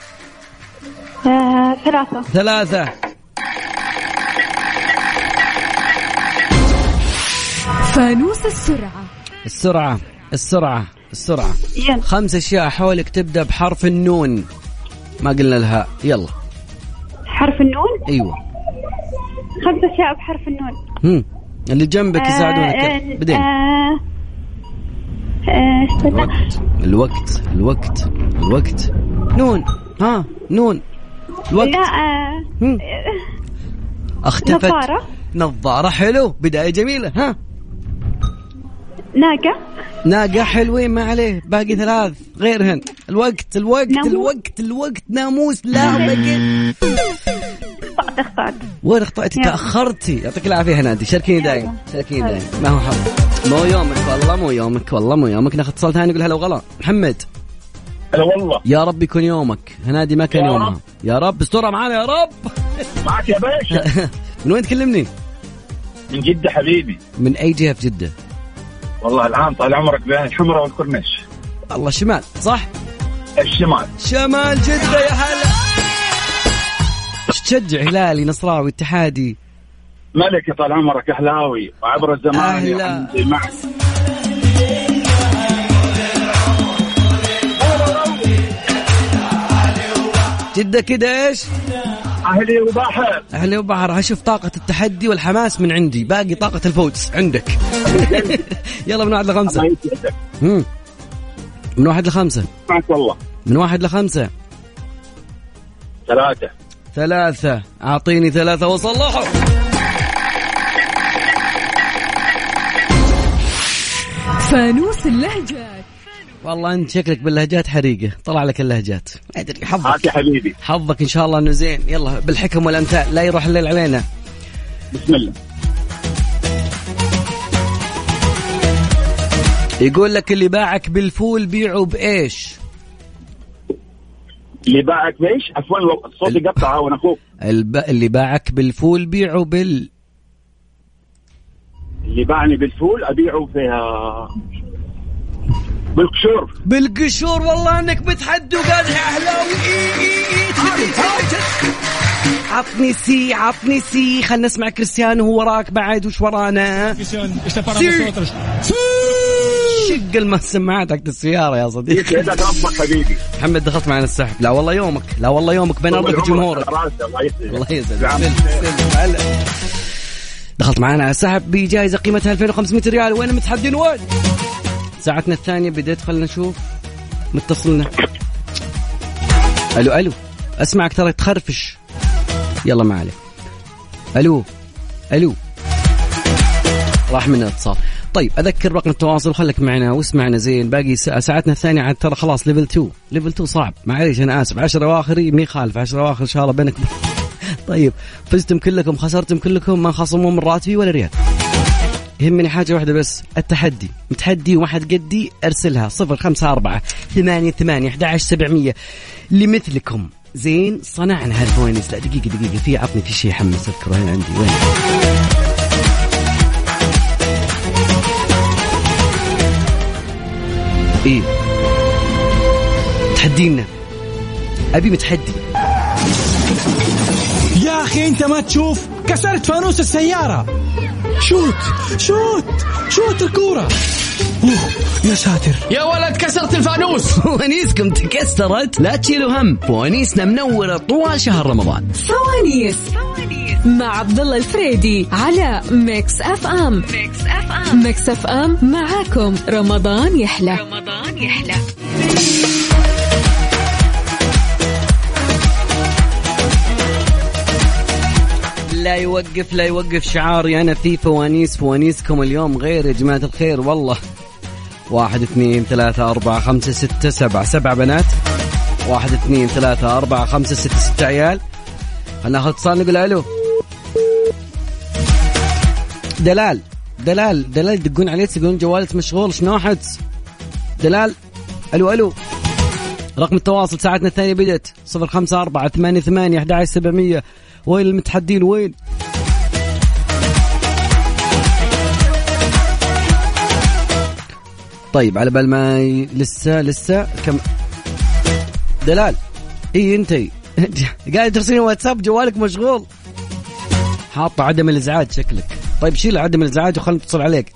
Speaker 5: آه، ثلاثة
Speaker 3: ثلاثه
Speaker 4: فانوس السرعة
Speaker 3: السرعه السرعه السرعه
Speaker 5: يلا
Speaker 3: خمس اشياء حولك تبدا بحرف النون ما قلنا الهاء يلا
Speaker 5: حرف النون
Speaker 3: ايوه
Speaker 5: خمسة أشياء بحرف النون
Speaker 3: هم. اللي جنبك
Speaker 5: آه،
Speaker 3: يساعدونك بعدين
Speaker 5: آه، آه، استنى.
Speaker 3: الوقت الوقت الوقت الوقت نون ها نون الوقت
Speaker 5: لا آه،
Speaker 3: هم. اختفت
Speaker 5: نظارة.
Speaker 3: نظارة حلو بداية جميلة ها
Speaker 5: ناقة
Speaker 3: ناقة حلوين ما عليه باقي ثلاث غيرهن الوقت الوقت
Speaker 5: ناموس.
Speaker 3: الوقت الوقت ناموس لا باقي
Speaker 5: اخطأت اخطأت
Speaker 3: وين اخطأتي
Speaker 5: يلا.
Speaker 3: تأخرتي يعطيك العافية هنادي شاركيني دايم شاركيني دايم ما هو حظ مو يومك والله مو يومك والله مو يومك ناخذ اتصال ثاني نقول هلا وغلا محمد
Speaker 6: هلا والله
Speaker 3: يا رب يكون يومك هنادي ما كان
Speaker 6: يا
Speaker 3: يومها
Speaker 6: رب.
Speaker 3: يا رب استرها معانا يا رب (laughs)
Speaker 6: معك يا باشا
Speaker 3: من وين تكلمني؟
Speaker 6: من جدة حبيبي
Speaker 3: من اي جهه في جده؟
Speaker 6: والله الان طال عمرك بين الحمرة والكورنيش
Speaker 3: الله شمال صح؟
Speaker 6: الشمال
Speaker 3: شمال جده يا هلا تشجع هلالي نصراوي اتحادي
Speaker 6: ملك يا طال عمرك اهلاوي وعبر الزمان يا
Speaker 3: أهلا.
Speaker 6: عمي معك
Speaker 3: جده كده ايش؟
Speaker 6: اهلي وبحر
Speaker 3: اهلي وبحر هشوف طاقة التحدي والحماس من عندي باقي طاقة الفوز عندك (laughs) يلا من واحد
Speaker 6: الله
Speaker 3: لخمسة
Speaker 6: يسعدك
Speaker 3: مم. من واحد لخمسة
Speaker 6: معك والله
Speaker 3: من واحد لخمسة
Speaker 6: ثلاثة
Speaker 3: ثلاثة أعطيني ثلاثة وصلحوا
Speaker 4: فانوس اللهجات
Speaker 3: والله انت شكلك باللهجات حريقه طلع لك اللهجات ما ادري حظك
Speaker 6: هات يا حبيبي
Speaker 3: حظك ان شاء الله انه زين يلا بالحكم والامثال لا يروح الليل علينا
Speaker 6: بسم الله
Speaker 3: يقول لك اللي باعك بالفول بيعه بايش
Speaker 6: اللي باعك بايش؟ عفوا لو الصوت يقطع وانا اخوك
Speaker 3: الب... اللي باعك بالفول بيعه بال
Speaker 6: اللي باعني بالفول ابيعه في بالقشور
Speaker 3: (laughs) بالقشور والله انك بتحدى وقال يا اهلاوي إي إي إي تبي- تبي- تبي- عطني سي عطني سي خلنا نسمع كريستيانو هو وراك بعد وش ورانا سي. شق الم- سماعاتك السيارة يا
Speaker 6: جيت
Speaker 3: صديقي
Speaker 6: يدك ربك حبيبي
Speaker 3: محمد دخلت معنا السحب لا والله يومك لا والله يومك بين
Speaker 6: طول
Speaker 3: ارضك
Speaker 6: عمرك
Speaker 3: وجمهورك
Speaker 6: على راسي، الله يسلمك
Speaker 3: الله يسعدك
Speaker 6: يا عم.
Speaker 3: سلم، (laughs) سلم، هلا. دخلت معنا على السحب بجائزة قيمتها 2500 ريال وين المتحدين وين؟ ساعتنا الثانية بديت خلنا نشوف متصلنا الو الو اسمعك ترى تخرفش يلا ما عليك الو الو راح من الاتصال طيب اذكر رقم التواصل خليك معنا واسمعنا زين باقي ساعة- ساعتنا الثانيه عاد ترى خلاص ليفل 2 ليفل 2 صعب معليش انا اسف 10 اواخر ما يخالف 10 اواخر ان شاء الله بينك طيب فزتم كلكم خسرتم كلكم ما خصموا من راتبي ولا ريال يهمني حاجة واحدة بس التحدي متحدي وما حد قدي ارسلها صفر خمسة أربعة ثمانية ثمانية أحد سبعمية لمثلكم زين صنعنا هالفوينز لا دقيقة دقيقة في عطني في شيء يحمس اذكره هنا عندي وين ايه تحدينا ابي متحدي
Speaker 1: يا اخي انت ما تشوف كسرت فانوس السياره شوت شوت شوت الكوره اوه يا ساتر
Speaker 2: يا ولد كسرت الفانوس
Speaker 3: (laughs) فوانيسكم تكسرت لا تشيلوا هم فوانيسنا منورة طوال شهر رمضان
Speaker 4: سوانيس مع عبد الله الفريدي على ميكس اف ام ميكس اف ام ميكس اف ام معاكم رمضان يحلى رمضان يحلى
Speaker 3: لا يوقف لا يوقف شعاري انا في فوانيس فوانيسكم اليوم غير يا جماعه الخير والله واحد اثنين ثلاثة أربعة خمسة ستة سبعة سبع بنات واحد اثنين ثلاثة أربعة خمسة ستة ستة عيال خلنا ناخذ اتصال نقول ألو دلال دلال دلال يدقون عليك يقولون جوالك مشغول شنو حدس دلال ألو ألو رقم التواصل ساعتنا الثانية بدأت صفر خمسة أربعة ثمانية ثمانية أحد عشر سبعمية وين المتحدين وين طيب على بال ما ي... لسه لسه كم دلال اي انت (laughs) قاعد ترسلني واتساب جوالك مشغول حاطه عدم الازعاج شكلك طيب شيل عدم الازعاج وخلنا نتصل عليك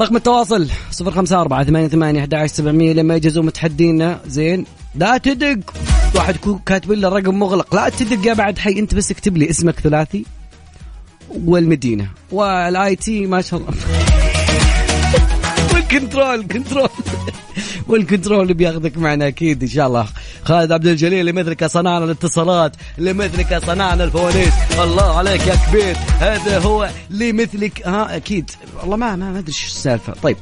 Speaker 3: رقم التواصل 054 88 11700 لما يجهزوا متحدينا زين لا تدق واحد يكون كاتب لنا رقم مغلق لا تدق يا بعد حي انت بس اكتب لي اسمك ثلاثي والمدينه والاي تي ما شاء الله والكنترول كنترول (laughs) والكنترول بياخذك معنا اكيد ان شاء الله خالد عبد الجليل لمثلك صنعنا الاتصالات لمثلك صنعنا الفوانيس الله عليك يا كبير هذا هو لمثلك ها اكيد والله ما ما ما ادري شو السالفه طيب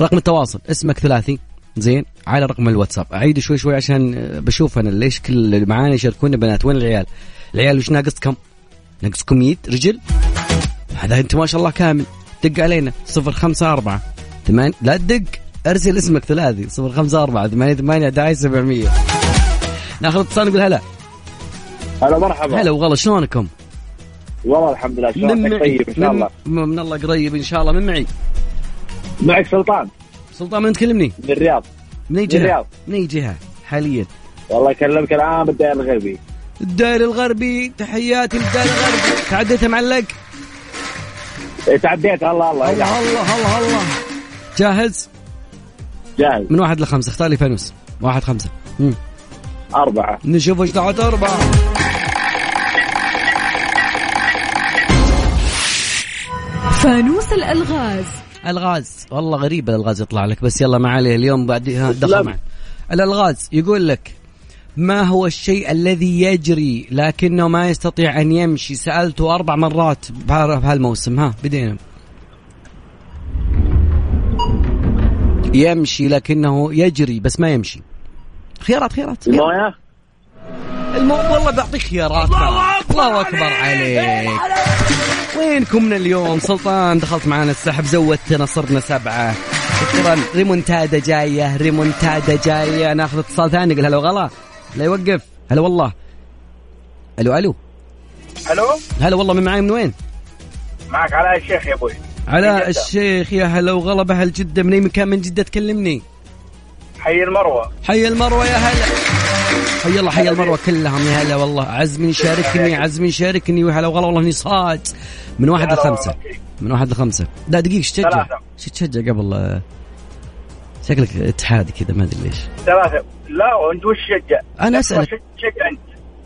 Speaker 3: رقم التواصل اسمك ثلاثي زين على رقم الواتساب اعيد شوي شوي عشان آه، بشوف انا ليش كل اللي معانا يشاركونا بنات وين العيال العيال وش ناقصكم ناقصكم يد رجل هذا انت ما شاء الله كامل دق علينا 054 ثمان لا تدق ارسل اسمك ثلاثي 054 8 8 11 700 ناخذ اتصال نقول هلا
Speaker 6: هلا مرحبا
Speaker 3: هلا وغلا شلونكم؟
Speaker 6: والله الحمد لله شلونك طيب ان شاء
Speaker 3: من,
Speaker 6: الله
Speaker 3: من, من الله قريب ان شاء الله من معي
Speaker 6: معك سلطان
Speaker 3: سلطان من تكلمني؟
Speaker 6: من الرياض
Speaker 3: من اي
Speaker 6: من الرياض.
Speaker 3: جهه؟ من اي جهه حاليا؟
Speaker 6: والله يكلمك الان بالدائرة الغربي
Speaker 3: الدائري الغربي تحياتي للدائري الغربي تعديتها معلق
Speaker 6: إيه، تعديت الله الله
Speaker 3: الله
Speaker 6: يجعل.
Speaker 3: الله الله الله جاهز؟
Speaker 6: جاهز
Speaker 3: من واحد لخمسه اختار لي فانوس واحد خمسه مم.
Speaker 6: أربعة
Speaker 3: نشوف ايش دعوة أربعة
Speaker 4: فانوس الالغاز
Speaker 3: الغاز والله غريب الالغاز يطلع لك بس يلا ما عليه اليوم بعد ها، دخل
Speaker 6: أسلم.
Speaker 3: معنا الالغاز يقول لك ما هو الشيء الذي يجري لكنه ما يستطيع ان يمشي سالته اربع مرات بها- بهالموسم ها بدينا يمشي لكنه يجري بس ما يمشي خيارات خيارات
Speaker 6: المويه
Speaker 3: المو... والله بعطيك خيارات الله, الله اكبر عليك وينكم من اليوم سلطان دخلت معانا السحب زودتنا صرنا سبعة شكرا ريمونتادا جاية ريمونتادا جاية ناخذ اتصال ثاني قل هلا وغلا لا يوقف هلا والله الو الو
Speaker 8: الو
Speaker 3: هلا والله من معاي من وين؟
Speaker 8: معك علاء الشيخ يا ابوي من
Speaker 3: على
Speaker 8: جدة.
Speaker 3: الشيخ يا هلا وغلا بأهل جدة من أي مكان من جدة تكلمني
Speaker 8: حي المروه
Speaker 3: حي المروة يا هلا حي الله حي المروة كلهم يا هلا والله عزمي شاركني عزمي شاركني يا هلا وغلا والله اني صاد من واحد
Speaker 8: هلا والله
Speaker 3: لخمسة
Speaker 8: فيك.
Speaker 3: من واحد لخمسة لا دقيقة ايش تشجع؟
Speaker 8: ثلاثة.
Speaker 3: ايش تشجع قبل آه، شكلك اتحاد كذا ما ادري ليش
Speaker 8: ثلاثه لا وانت وش شجع؟
Speaker 3: أنا أسألك.
Speaker 8: شجع انت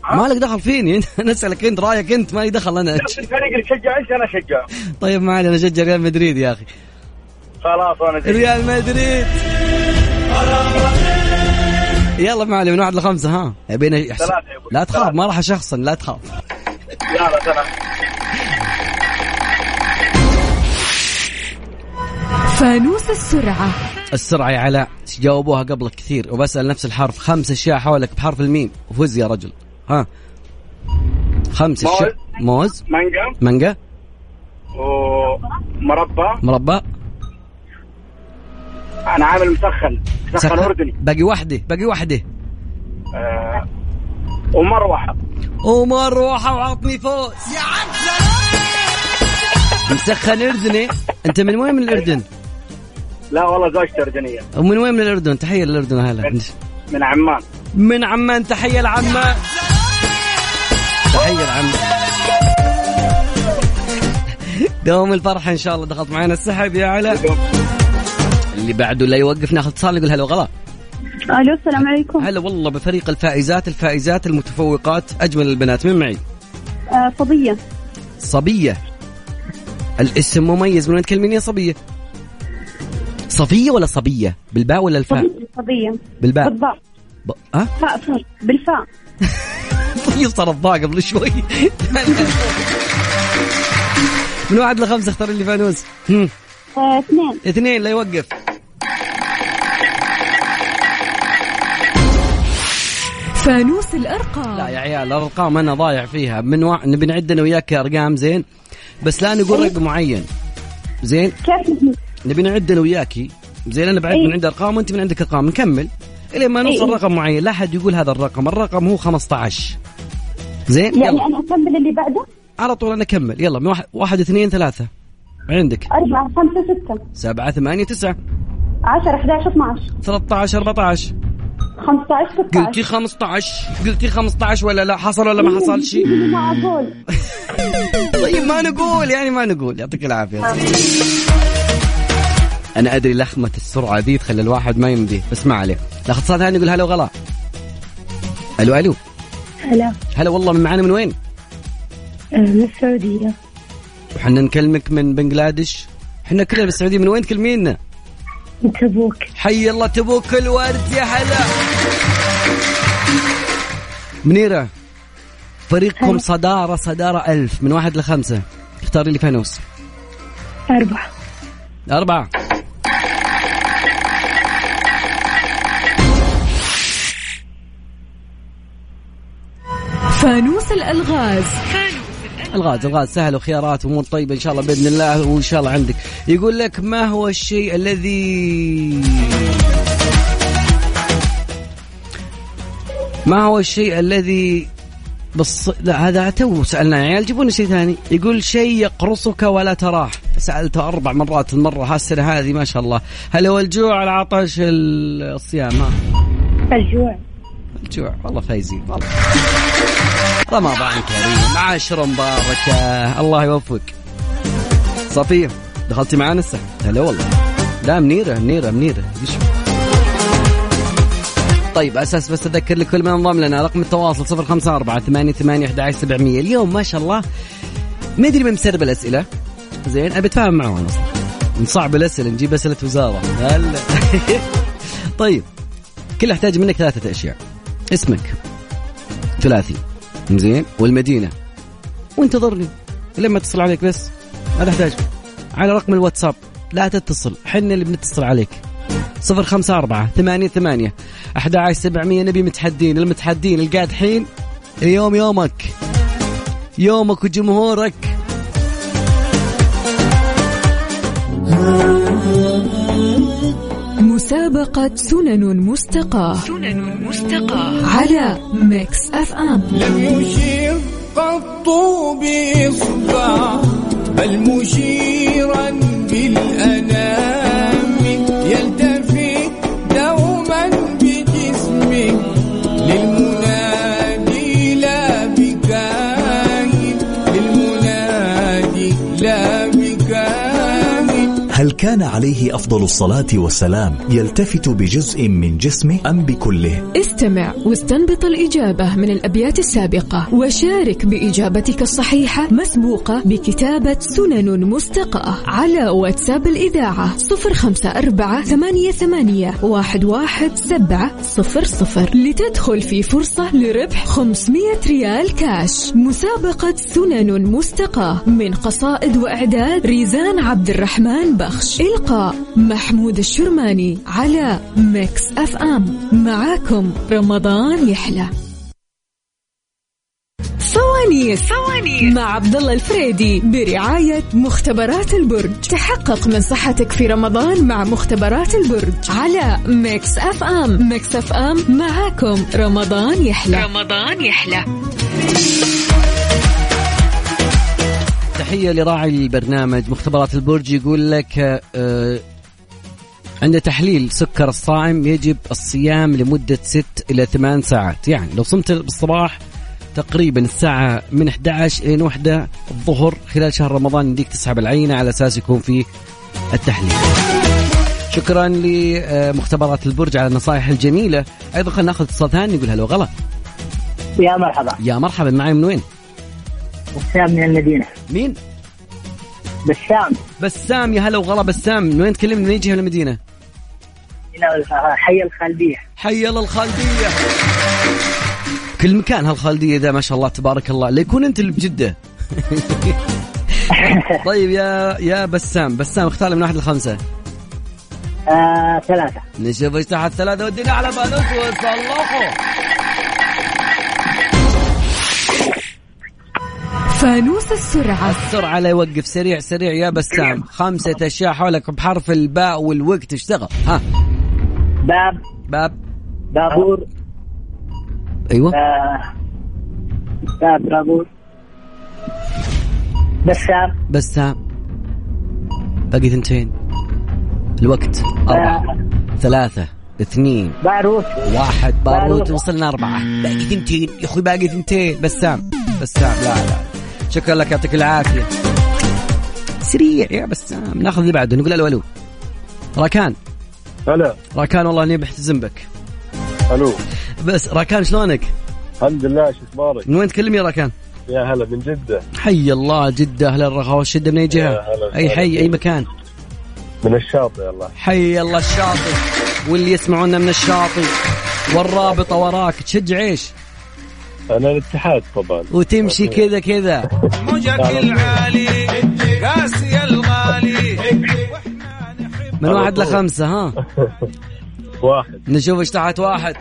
Speaker 8: ها؟
Speaker 3: ما لك دخل فيني (laughs) انت انا اسالك انت رايك انت مالي دخل انا
Speaker 8: نفس الفريق اللي شجع انت انا شجع
Speaker 3: طيب ما علي انا اشجع ريال مدريد يا اخي
Speaker 8: خلاص وانا زي
Speaker 3: ريال مدريد يلا معلم من واحد لخمسة ها بين يحسب.
Speaker 8: ثلاثة يا أبوي.
Speaker 3: لا تخاف ما راح شخصا لا تخاف
Speaker 8: لا لا سلام
Speaker 4: فانوس السرعة
Speaker 3: السرعة يا علاء جاوبوها قبلك كثير وبسأل نفس الحرف خمس أشياء حولك بحرف الميم وفز يا رجل ها خمس
Speaker 8: موز.
Speaker 3: أشياء موز
Speaker 8: مانجا
Speaker 3: مانجا
Speaker 8: ومربى
Speaker 3: مربى
Speaker 8: انا عامل مسخن مسخن
Speaker 3: سكر.
Speaker 8: اردني
Speaker 3: باقي واحدة باقي واحدة
Speaker 8: آه، ومروحه
Speaker 3: ومروحة وعطني فوز يا عبد مسخن أردني أنت من وين من الأردن؟
Speaker 8: لا والله زوجتي اردنيه
Speaker 3: ومن وين من الأردن؟ تحية للأردن هلا
Speaker 8: من عمان
Speaker 3: من عمان تحية لعمان تحية لعمان دوم الفرحة إن شاء الله دخلت معنا السحب يا علاء اللي بعده لا يوقف ناخذ اتصال نقول هلا وغلا
Speaker 5: الو السلام عليكم
Speaker 3: هلا والله بفريق الفائزات الفائزات المتفوقات أجمل البنات من معي
Speaker 5: آه، فضيه
Speaker 3: صبية الاسم مميز من وين تكلميني يا صبية صفية ولا صبية بالباء ولا الفاء
Speaker 5: فضيه فضيه
Speaker 3: بالباء
Speaker 5: بالضاء
Speaker 3: ب... أه؟
Speaker 5: فاء فاء بالفاء
Speaker 3: طيب صار الضاء قبل شوي من واحد لخمسة اختار اللي فانوس هم،
Speaker 5: آه، اثنين
Speaker 3: اثنين لا يوقف
Speaker 4: فانوس
Speaker 3: لا
Speaker 4: الأرقام
Speaker 3: يا عيال الارقام انا ضايع فيها من وا... نبي نعد انا وياك ارقام زين بس لا نقول رقم معين زين
Speaker 5: كيف
Speaker 3: نبي نعد انا وياكي زين انا بعد
Speaker 5: إيه.
Speaker 3: من عندي ارقام وانت من عندك ارقام نكمل الين ما نوصل
Speaker 5: إيه.
Speaker 3: رقم معين لا احد يقول هذا الرقم الرقم هو 15 زين
Speaker 5: يعني
Speaker 3: يلا
Speaker 5: انا اكمل اللي بعده
Speaker 3: على طول انا اكمل يلا من واحد, واحد اثنين ثلاثة عندك
Speaker 5: أربعة خمسة ستة
Speaker 3: سبعة ثمانية تسعة
Speaker 5: عشرة 11 12
Speaker 3: 13 14
Speaker 5: 15
Speaker 3: قلتي
Speaker 5: 16
Speaker 3: 15 قلتي 15 ولا لا حصل ولا ما حصل شيء
Speaker 5: معقول
Speaker 3: طيب ما نقول يعني ما نقول يعطيك العافيه انا ادري لخمه السرعه دي تخلي الواحد ما يمدي بس ما عليه ناخذ اتصال ثاني يقول هلا وغلا الو الو
Speaker 5: هلا آه،
Speaker 3: هلا والله من معانا من وين
Speaker 5: من السعودية
Speaker 3: وحنا نكلمك من بنجلاديش احنا كلنا بالسعوديه من وين تكلمينا
Speaker 5: من تبوك
Speaker 3: حي الله تبوك الورد يا هلا منيرة فريقكم صدارة صدارة ألف من واحد لخمسة اختاري لي فانوس
Speaker 5: أربعة
Speaker 3: أربعة
Speaker 4: فانوس الألغاز
Speaker 3: الغاز الغاز سهل وخيارات امور طيبه ان شاء الله باذن الله وان شاء الله عندك يقول لك ما هو الشيء الذي ما هو الشيء الذي بص لا هذا تو سالنا يا عيال جيبونا شيء ثاني يقول شيء يقرصك ولا تراه سالته اربع مرات المره هالسنه هذه ما شاء الله هل هو الجوع العطش الصيام ها
Speaker 5: الجوع
Speaker 3: الجوع والله فايزين والله رمضان كريم عاشر مباركة الله يوفقك صفية دخلتي معانا السحب هلا والله لا منيرة منيرة منيرة ايش طيب اساس بس اذكر لكل من انضم لنا رقم التواصل 054 88 11700 اليوم ما شاء الله ما ادري من مسرب الاسئله زين ابي اتفاهم معهم أنا اصلا من صعب الاسئله نجيب اسئله وزاره هلا (laughs) طيب كل احتاج منك ثلاثه اشياء اسمك ثلاثي زين والمدينه وانتظرني لما اتصل عليك بس ما تحتاج على رقم الواتساب لا تتصل حنا اللي بنتصل عليك صفر خمسة أربعة ثمانية ثمانية أحد عشر سبعمية نبي متحدين المتحدين القاعد حين اليوم يومك يومك وجمهورك
Speaker 4: مسابقة سنن مستقاة سنن مستقاة على ميكس اف ام
Speaker 7: يشير قط بإصبع بل مشيرا بالأنام يلتفت دوما بجسمه للمنادي لا بكاهن للمنادي لا بكاهن
Speaker 10: هل كان عليه أفضل الصلاة والسلام يلتفت بجزء من جسمه أم بكله؟
Speaker 4: استمع واستنبط الإجابة من الأبيات السابقة وشارك بإجابتك الصحيحة مسبوقة بكتابة سنن مستقاة على واتساب الإذاعة 054 88 11700 لتدخل في فرصة لربح 500 ريال كاش مسابقة سنن مستقاة من قصائد وإعداد ريزان عبد الرحمن بخش إلقاء محمود الشرماني على ميكس أف أم معاكم رمضان يحلى فوانيس فوانيس مع عبد الله الفريدي برعاية مختبرات البرج تحقق من صحتك في رمضان مع مختبرات البرج على ميكس اف ام ميكس اف ام معاكم رمضان يحلى رمضان يحلى
Speaker 3: تحية لراعي البرنامج مختبرات البرج يقول لك آه، عند تحليل سكر الصائم يجب الصيام لمدة 6 إلى 8 ساعات يعني لو صمت بالصباح تقريبا الساعة من 11 إلى وحدة الظهر خلال شهر رمضان يديك تسحب العينة على أساس يكون في التحليل شكرا لمختبرات البرج على النصائح الجميلة أيضا خلينا ناخذ اتصال ثاني نقول هلا وغلا
Speaker 5: يا مرحبا
Speaker 3: يا مرحبا معي من وين؟
Speaker 5: وسام من المدينة
Speaker 3: مين؟
Speaker 5: بسام
Speaker 3: بسام يا هلا وغلا بسام من وين تكلمني من أي جهة من المدينة؟
Speaker 5: من الخ- حي الخالدية
Speaker 3: حي الله الخالدية كل مكان هالخالدية ذا ما شاء الله تبارك الله لا يكون أنت اللي بجدة طيب يا يا بسام بسام اختار لي من واحد لخمسة
Speaker 5: آه ثلاثة
Speaker 3: نشوف ايش تحت ثلاثة ودينا على بالوس وصلحوا
Speaker 4: فانوس السرعة
Speaker 3: السرعة لا يوقف سريع سريع يا بسام خمسة أشياء حولك بحرف الباء والوقت اشتغل ها
Speaker 5: باب
Speaker 3: باب
Speaker 5: بابور
Speaker 3: ايوه
Speaker 5: آه باب بابور بسام
Speaker 3: بسام باقي ثنتين الوقت أربعة ثلاثة اثنين
Speaker 5: آه. باروت
Speaker 3: واحد باروت
Speaker 5: باروت.
Speaker 3: وصلنا أربعة باقي ثنتين يا أخوي باقي ثنتين بسام بسام لا لا شكرا لك يعطيك العافية سريع يا بسام ناخذ اللي بعده نقول ألو ألو راكان
Speaker 8: هلا
Speaker 3: راكان والله إني بحتزم بك
Speaker 8: الو
Speaker 3: بس راكان شلونك؟
Speaker 8: الحمد لله شو اخبارك؟
Speaker 3: من وين تكلمني يا راكان؟
Speaker 8: يا هلا من جدة
Speaker 3: حي الله جدة أهل الرخاء والشدة من أي جهة؟
Speaker 8: يا هلا
Speaker 3: أي
Speaker 8: وسهلا.
Speaker 3: حي أي مكان
Speaker 8: من الشاطئ يلا
Speaker 3: حي الله الشاطئ واللي يسمعونا من الشاطئ والرابطة وراك تشجع ايش؟
Speaker 8: انا الاتحاد طبعا
Speaker 3: وتمشي كذا كذا من واحد لخمسة ها
Speaker 8: واحد
Speaker 3: نشوف ايش تحت واحد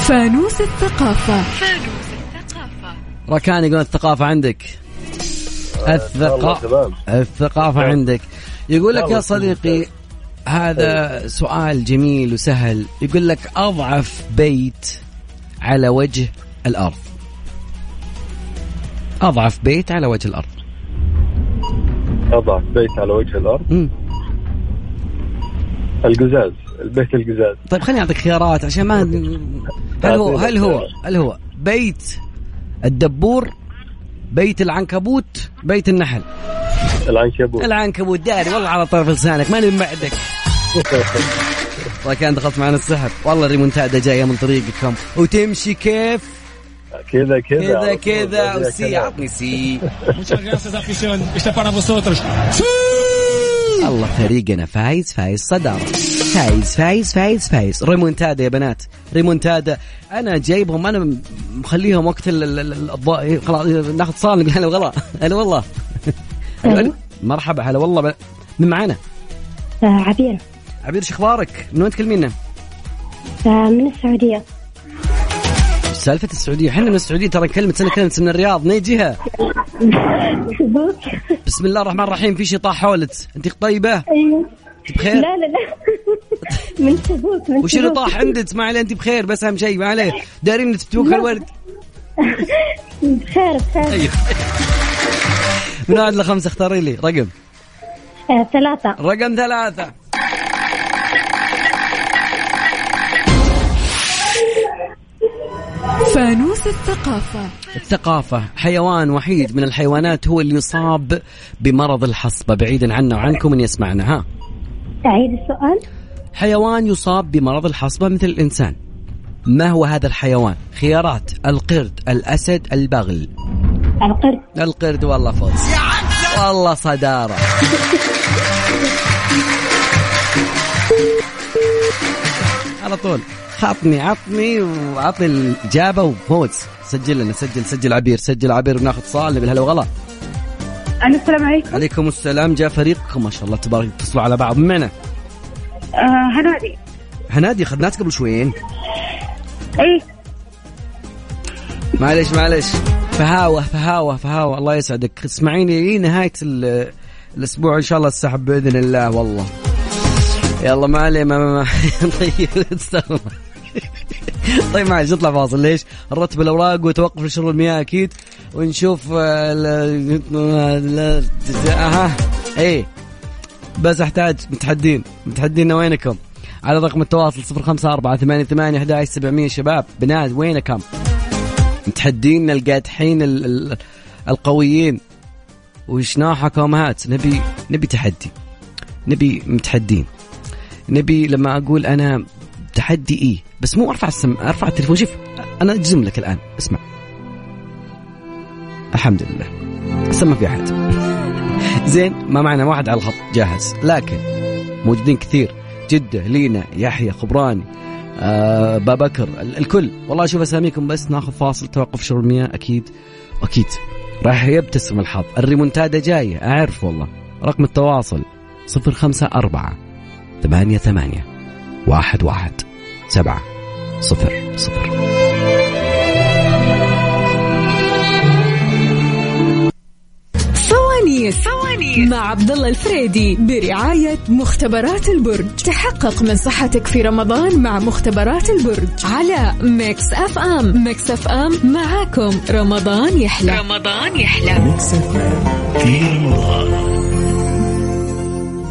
Speaker 3: إن شاء الله يخدمك الأرض.
Speaker 4: فانوس الثقافة
Speaker 3: ركان يقول الثقافة عندك
Speaker 8: والله
Speaker 3: الثقافة
Speaker 8: تمام
Speaker 3: الثقافة عندك يقول لك يا
Speaker 8: والله
Speaker 3: صديقي هذا سؤال جميل وسهل يقول لك أضعف بيت على وجه الأرض أضعف بيت على وجه الأرض
Speaker 8: اضعف بيت على وجه الارض
Speaker 3: مم.
Speaker 8: القزاز البيت القزاز
Speaker 3: طيب خليني اعطيك خيارات عشان ما هل هو هل هو هل هو بيت الدبور بيت العنكبوت بيت النحل
Speaker 8: العنكبوت
Speaker 3: العنكبوت داري والله على طرف لسانك ماني بعدك والله كان دخلت معنا السحب والله الريمونتادا جايه من طريقكم وتمشي كيف
Speaker 8: كذا كذا
Speaker 3: كذا
Speaker 8: على طول،
Speaker 3: كذا وسي
Speaker 8: كذا.
Speaker 3: عطني سي
Speaker 2: Muchas gracias, afición. Este para vosotros.
Speaker 3: الله فريقنا فايز فايز صدارة فايز فايز فايز فايز ريمونتادا يا بنات ريمونتادا انا جايبهم انا إيه، مخليهم وقت ال- ال- ال- الض- خلاص ناخذ صال نقول هلا وغلا هلا والله أيوة. مرحبا هلا والله ب... من معانا
Speaker 11: آه، عبير
Speaker 3: عبير شو اخبارك؟ من وين تكلمينا؟
Speaker 11: آه، من السعودية
Speaker 3: إيش سالفة السعودية؟ احنا من السعودية ترى كلمة سنة كلمة من الرياض من أي جهة؟ بسم الله الرحمن الرحيم في شي طاح حولك، أنت طيبة؟
Speaker 5: أيوه.
Speaker 11: أيوة
Speaker 3: أنت بخير؟
Speaker 11: لا لا لا (laughs) من تبوك من
Speaker 3: وش اللي
Speaker 11: تبوك.
Speaker 3: طاح عندك؟ ما عليه أنت بخير بس أهم شيء ما عليه، دارين تفتوك الورد
Speaker 11: بخير بخير
Speaker 3: أيوه من واحد لخمسة اختاري لي رقم
Speaker 11: آه، ثلاثة
Speaker 3: رقم ثلاثة
Speaker 4: فانوس الثقافة
Speaker 3: الثقافة حيوان وحيد من الحيوانات هو اللي يصاب بمرض الحصبة بعيدا عنا وعنكم من يسمعنا ها
Speaker 11: أعيد السؤال
Speaker 3: حيوان يصاب بمرض الحصبة مثل الإنسان ما هو هذا الحيوان خيارات القرد الأسد البغل
Speaker 11: القرد
Speaker 3: القرد والله فوز والله صدارة على طول خطني عطني وعطني الإجابة وفوز سجل لنا سجل سجل عبير سجل عبير وناخذ اتصال بالهلا وغلا
Speaker 5: أنا السلام عليكم
Speaker 3: عليكم السلام جاء فريقكم ما شاء الله تبارك اتصلوا على بعض من معنا
Speaker 5: آه هنادي
Speaker 3: هنادي خدناك قبل شويين
Speaker 5: إيه
Speaker 3: معلش معلش فهاوة فهاوة فهاوة الله يسعدك اسمعيني لي نهاية ال- الأسبوع إن شاء الله السحب بإذن الله والله يلا ما عليه ما ما (laughs) ما طيب استنى. طيب معلش نطلع فاصل ليش؟ نرتب الأوراق وتوقف شرور المياه أكيد ونشوف آه، ال- ال- ال- أها إيه بس احتاج متحدين متحدين وينكم على رقم التواصل 054 88 11700 شباب بنات وينكم متحدين القادحين ال- ال- القويين وشناحك امهات نبي نبي تحدي نبي متحدين نبي لما اقول انا تحدي ايه بس مو ارفع السم ارفع التليفون شوف انا اجزم لك الان اسمع الحمد لله هسه ما في احد زين ما معنا واحد على الخط جاهز لكن موجودين كثير جدة لينا يحيى خبراني آه بابكر ال- الكل والله اشوف اساميكم بس ناخذ فاصل توقف شرب المياه اكيد اكيد راح يبتسم الحظ الريمونتادا جاية اعرف والله رقم التواصل 054 ثمانية ثمانية واحد واحد سبعة صفر صفر
Speaker 4: فوانيس مع عبد الله الفريدي برعاية مختبرات البرج تحقق من صحتك في رمضان مع مختبرات البرج على ميكس اف ام ميكس اف ام معاكم رمضان يحلى رمضان يحلى
Speaker 12: في رمضان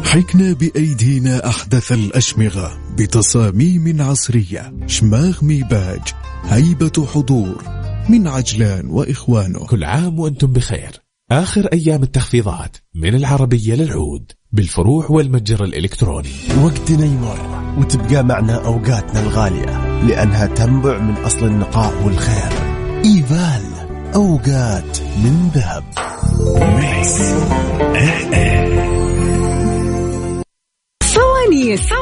Speaker 13: حكنا بأيدينا أحدث الأشمغة بتصاميم عصرية شماغ ميباج هيبة حضور من عجلان وإخوانه
Speaker 14: كل عام وأنتم بخير آخر أيام التخفيضات من العربية للعود بالفروع والمتجر الإلكتروني
Speaker 15: وقتنا يمر وتبقى معنا أوقاتنا الغالية لأنها تنبع من أصل النقاء والخير إيفال أوقات من ذهب
Speaker 4: فوانيس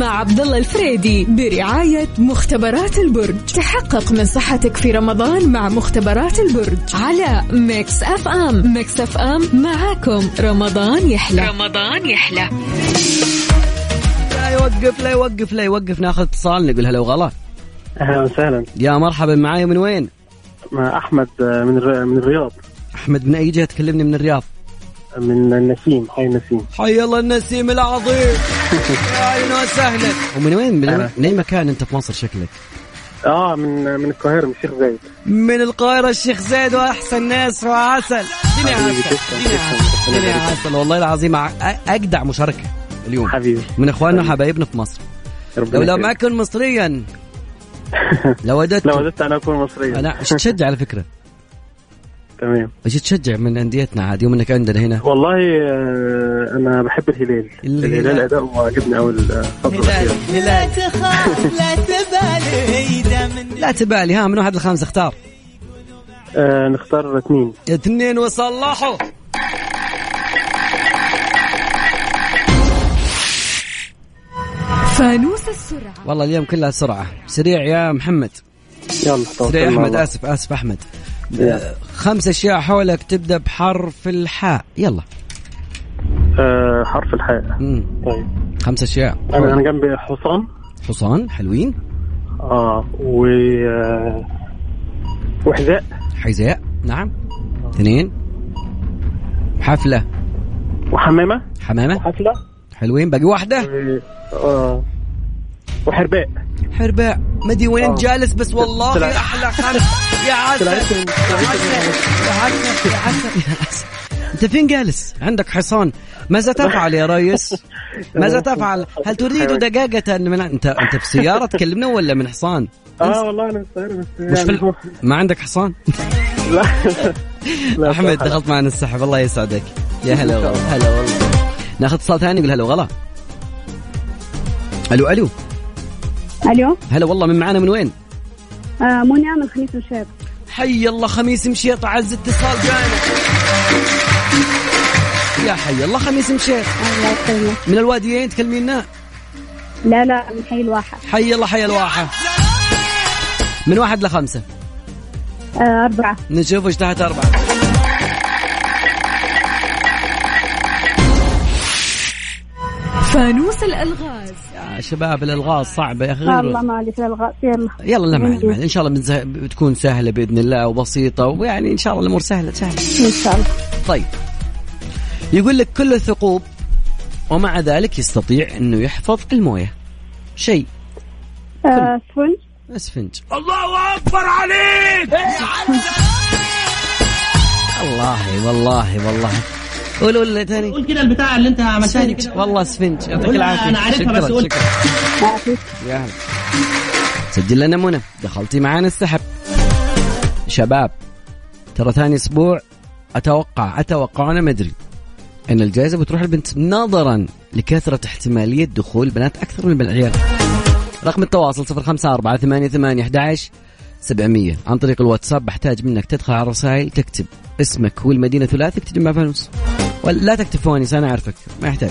Speaker 4: مع عبد الله الفريدي برعاية مختبرات البرج تحقق من صحتك في رمضان مع مختبرات البرج على ميكس اف ام ميكس اف ام معاكم رمضان يحلى رمضان يحلى
Speaker 3: لا يوقف لا يوقف لا يوقف ناخذ اتصال نقول هلا وغلا
Speaker 8: اهلا وسهلا
Speaker 3: يا مرحبا معاي من وين؟
Speaker 8: مع احمد آه، من الر- من الرياض
Speaker 3: احمد من اي جهه تكلمني من الرياض؟
Speaker 8: من النسيم حي النسيم
Speaker 3: حي الله النسيم العظيم يا اهلا وسهلا ومن وين من, من اي مكان انت في مصر شكلك؟
Speaker 8: اه من من القاهره من الشيخ زايد
Speaker 3: من القاهره الشيخ زايد واحسن ناس وعسل الدنيا عسل الدنيا عسل الدنيا عسل والله العظيم ع- أ- اجدع مشاركه اليوم
Speaker 8: حبيبي
Speaker 3: من اخواننا وحبايبنا في مصر لو لم
Speaker 8: يخليك.
Speaker 3: اكن مصريا لو وددت
Speaker 8: (laughs) لو وددت انا اكون مصريا
Speaker 3: انا ايش تشجع على فكره؟
Speaker 8: تمام
Speaker 3: ايش تشجع من انديتنا عادي ومنك عندنا هنا؟
Speaker 8: والله آه، انا بحب الهلال الهلال اداؤه عجبني اول الفتره الاخيره
Speaker 7: لا تخاف لا تبالي دم
Speaker 3: لا تبالي ها من واحد لخمسه اختار
Speaker 8: آه، نختار اثنين
Speaker 3: اثنين وصلحوا
Speaker 4: فانوس السرعة
Speaker 3: والله اليوم كلها سرعه سريع يا محمد
Speaker 8: يلا
Speaker 3: سريع احمد اسف اسف احمد
Speaker 8: يلا.
Speaker 3: خمس اشياء حولك تبدا بحرف الحاء يلا
Speaker 8: آه حرف الحاء
Speaker 3: طيب خمس اشياء
Speaker 8: انا انا جنبي حصان
Speaker 3: حصان حلوين
Speaker 8: اه و آه، وحذاء
Speaker 3: حذاء نعم اثنين حفلة
Speaker 8: وحمامة
Speaker 3: حمامة
Speaker 8: وحفلة
Speaker 3: حلوين باقي واحدة
Speaker 8: آه وحرباء
Speaker 3: حرباء مدي وين جالس بس والله احلى خمس يا عسل يا عسل يا عسل يا عسل انت فين جالس؟ عندك حصان ماذا تفعل يا ريس؟ ماذا تفعل؟ هل تريد دجاجة من انت انت في سيارة تكلمنا ولا من حصان؟
Speaker 16: آه،
Speaker 8: اه والله انا مستغرب
Speaker 3: مش
Speaker 8: بس
Speaker 3: في
Speaker 8: يعني
Speaker 3: ال-
Speaker 16: (laughs)
Speaker 3: ما عندك حصان؟
Speaker 8: لا لا،
Speaker 3: احمد
Speaker 8: صراحة لا.
Speaker 3: دخلت معنا السحب الله يسعدك يا هلا
Speaker 8: إن شاء
Speaker 3: والله
Speaker 8: الله.
Speaker 3: هلا والله ناخذ اتصال ثاني نقول هلا وغلا الو الو
Speaker 5: الو
Speaker 3: هلا والله من معانا من وين؟
Speaker 5: آه منى من خميس وشيب
Speaker 3: حي الله خميس مشيط عز اتصال جاي يا حي الله خميس مشيط
Speaker 5: الله يسلمك
Speaker 3: من الواديين تكلمينا
Speaker 5: لا لا من حي الواحة
Speaker 3: حي الله حي الواحة من واحد لخمسة
Speaker 5: آه أربعة
Speaker 3: نشوف ايش تحت أربعة
Speaker 4: فانوس الالغاز
Speaker 3: يا شباب الألغاز صعبة يا أخي غير
Speaker 5: الله مالك للغاز يلا
Speaker 3: يلا لا معلم معلم. إن شاء الله بتزه- بتكون سهلة بإذن الله وبسيطة ويعني إن شاء الله الأمور سهلة سهلة
Speaker 5: إن شاء الله
Speaker 3: طيب يقول لك كل الثقوب ومع ذلك يستطيع أنه يحفظ الموية شيء
Speaker 5: آه سفنج
Speaker 3: اسفنج
Speaker 9: الله اكبر عليك
Speaker 3: والله والله والله قول قول اللي تاني
Speaker 7: قول كده البتاع اللي انت عملتها دي
Speaker 3: سفنج
Speaker 7: كده
Speaker 3: والله سفنج يعطيك
Speaker 7: قول
Speaker 3: العافية
Speaker 7: انا عارفها
Speaker 3: شكرا
Speaker 7: بس قول
Speaker 3: شكرا يا هلا سجل لنا منى دخلتي معانا السحب شباب ترى ثاني اسبوع اتوقع اتوقع انا ما ادري ان الجائزه بتروح للبنت نظرا لكثره احتماليه دخول بنات اكثر من العيال رقم التواصل 054 عن طريق الواتساب بحتاج منك تدخل على الرسائل تكتب اسمك والمدينه ثلاثي تكتب مع فانوس ولا لا تكتب فوانيس انا اعرفك ما يحتاج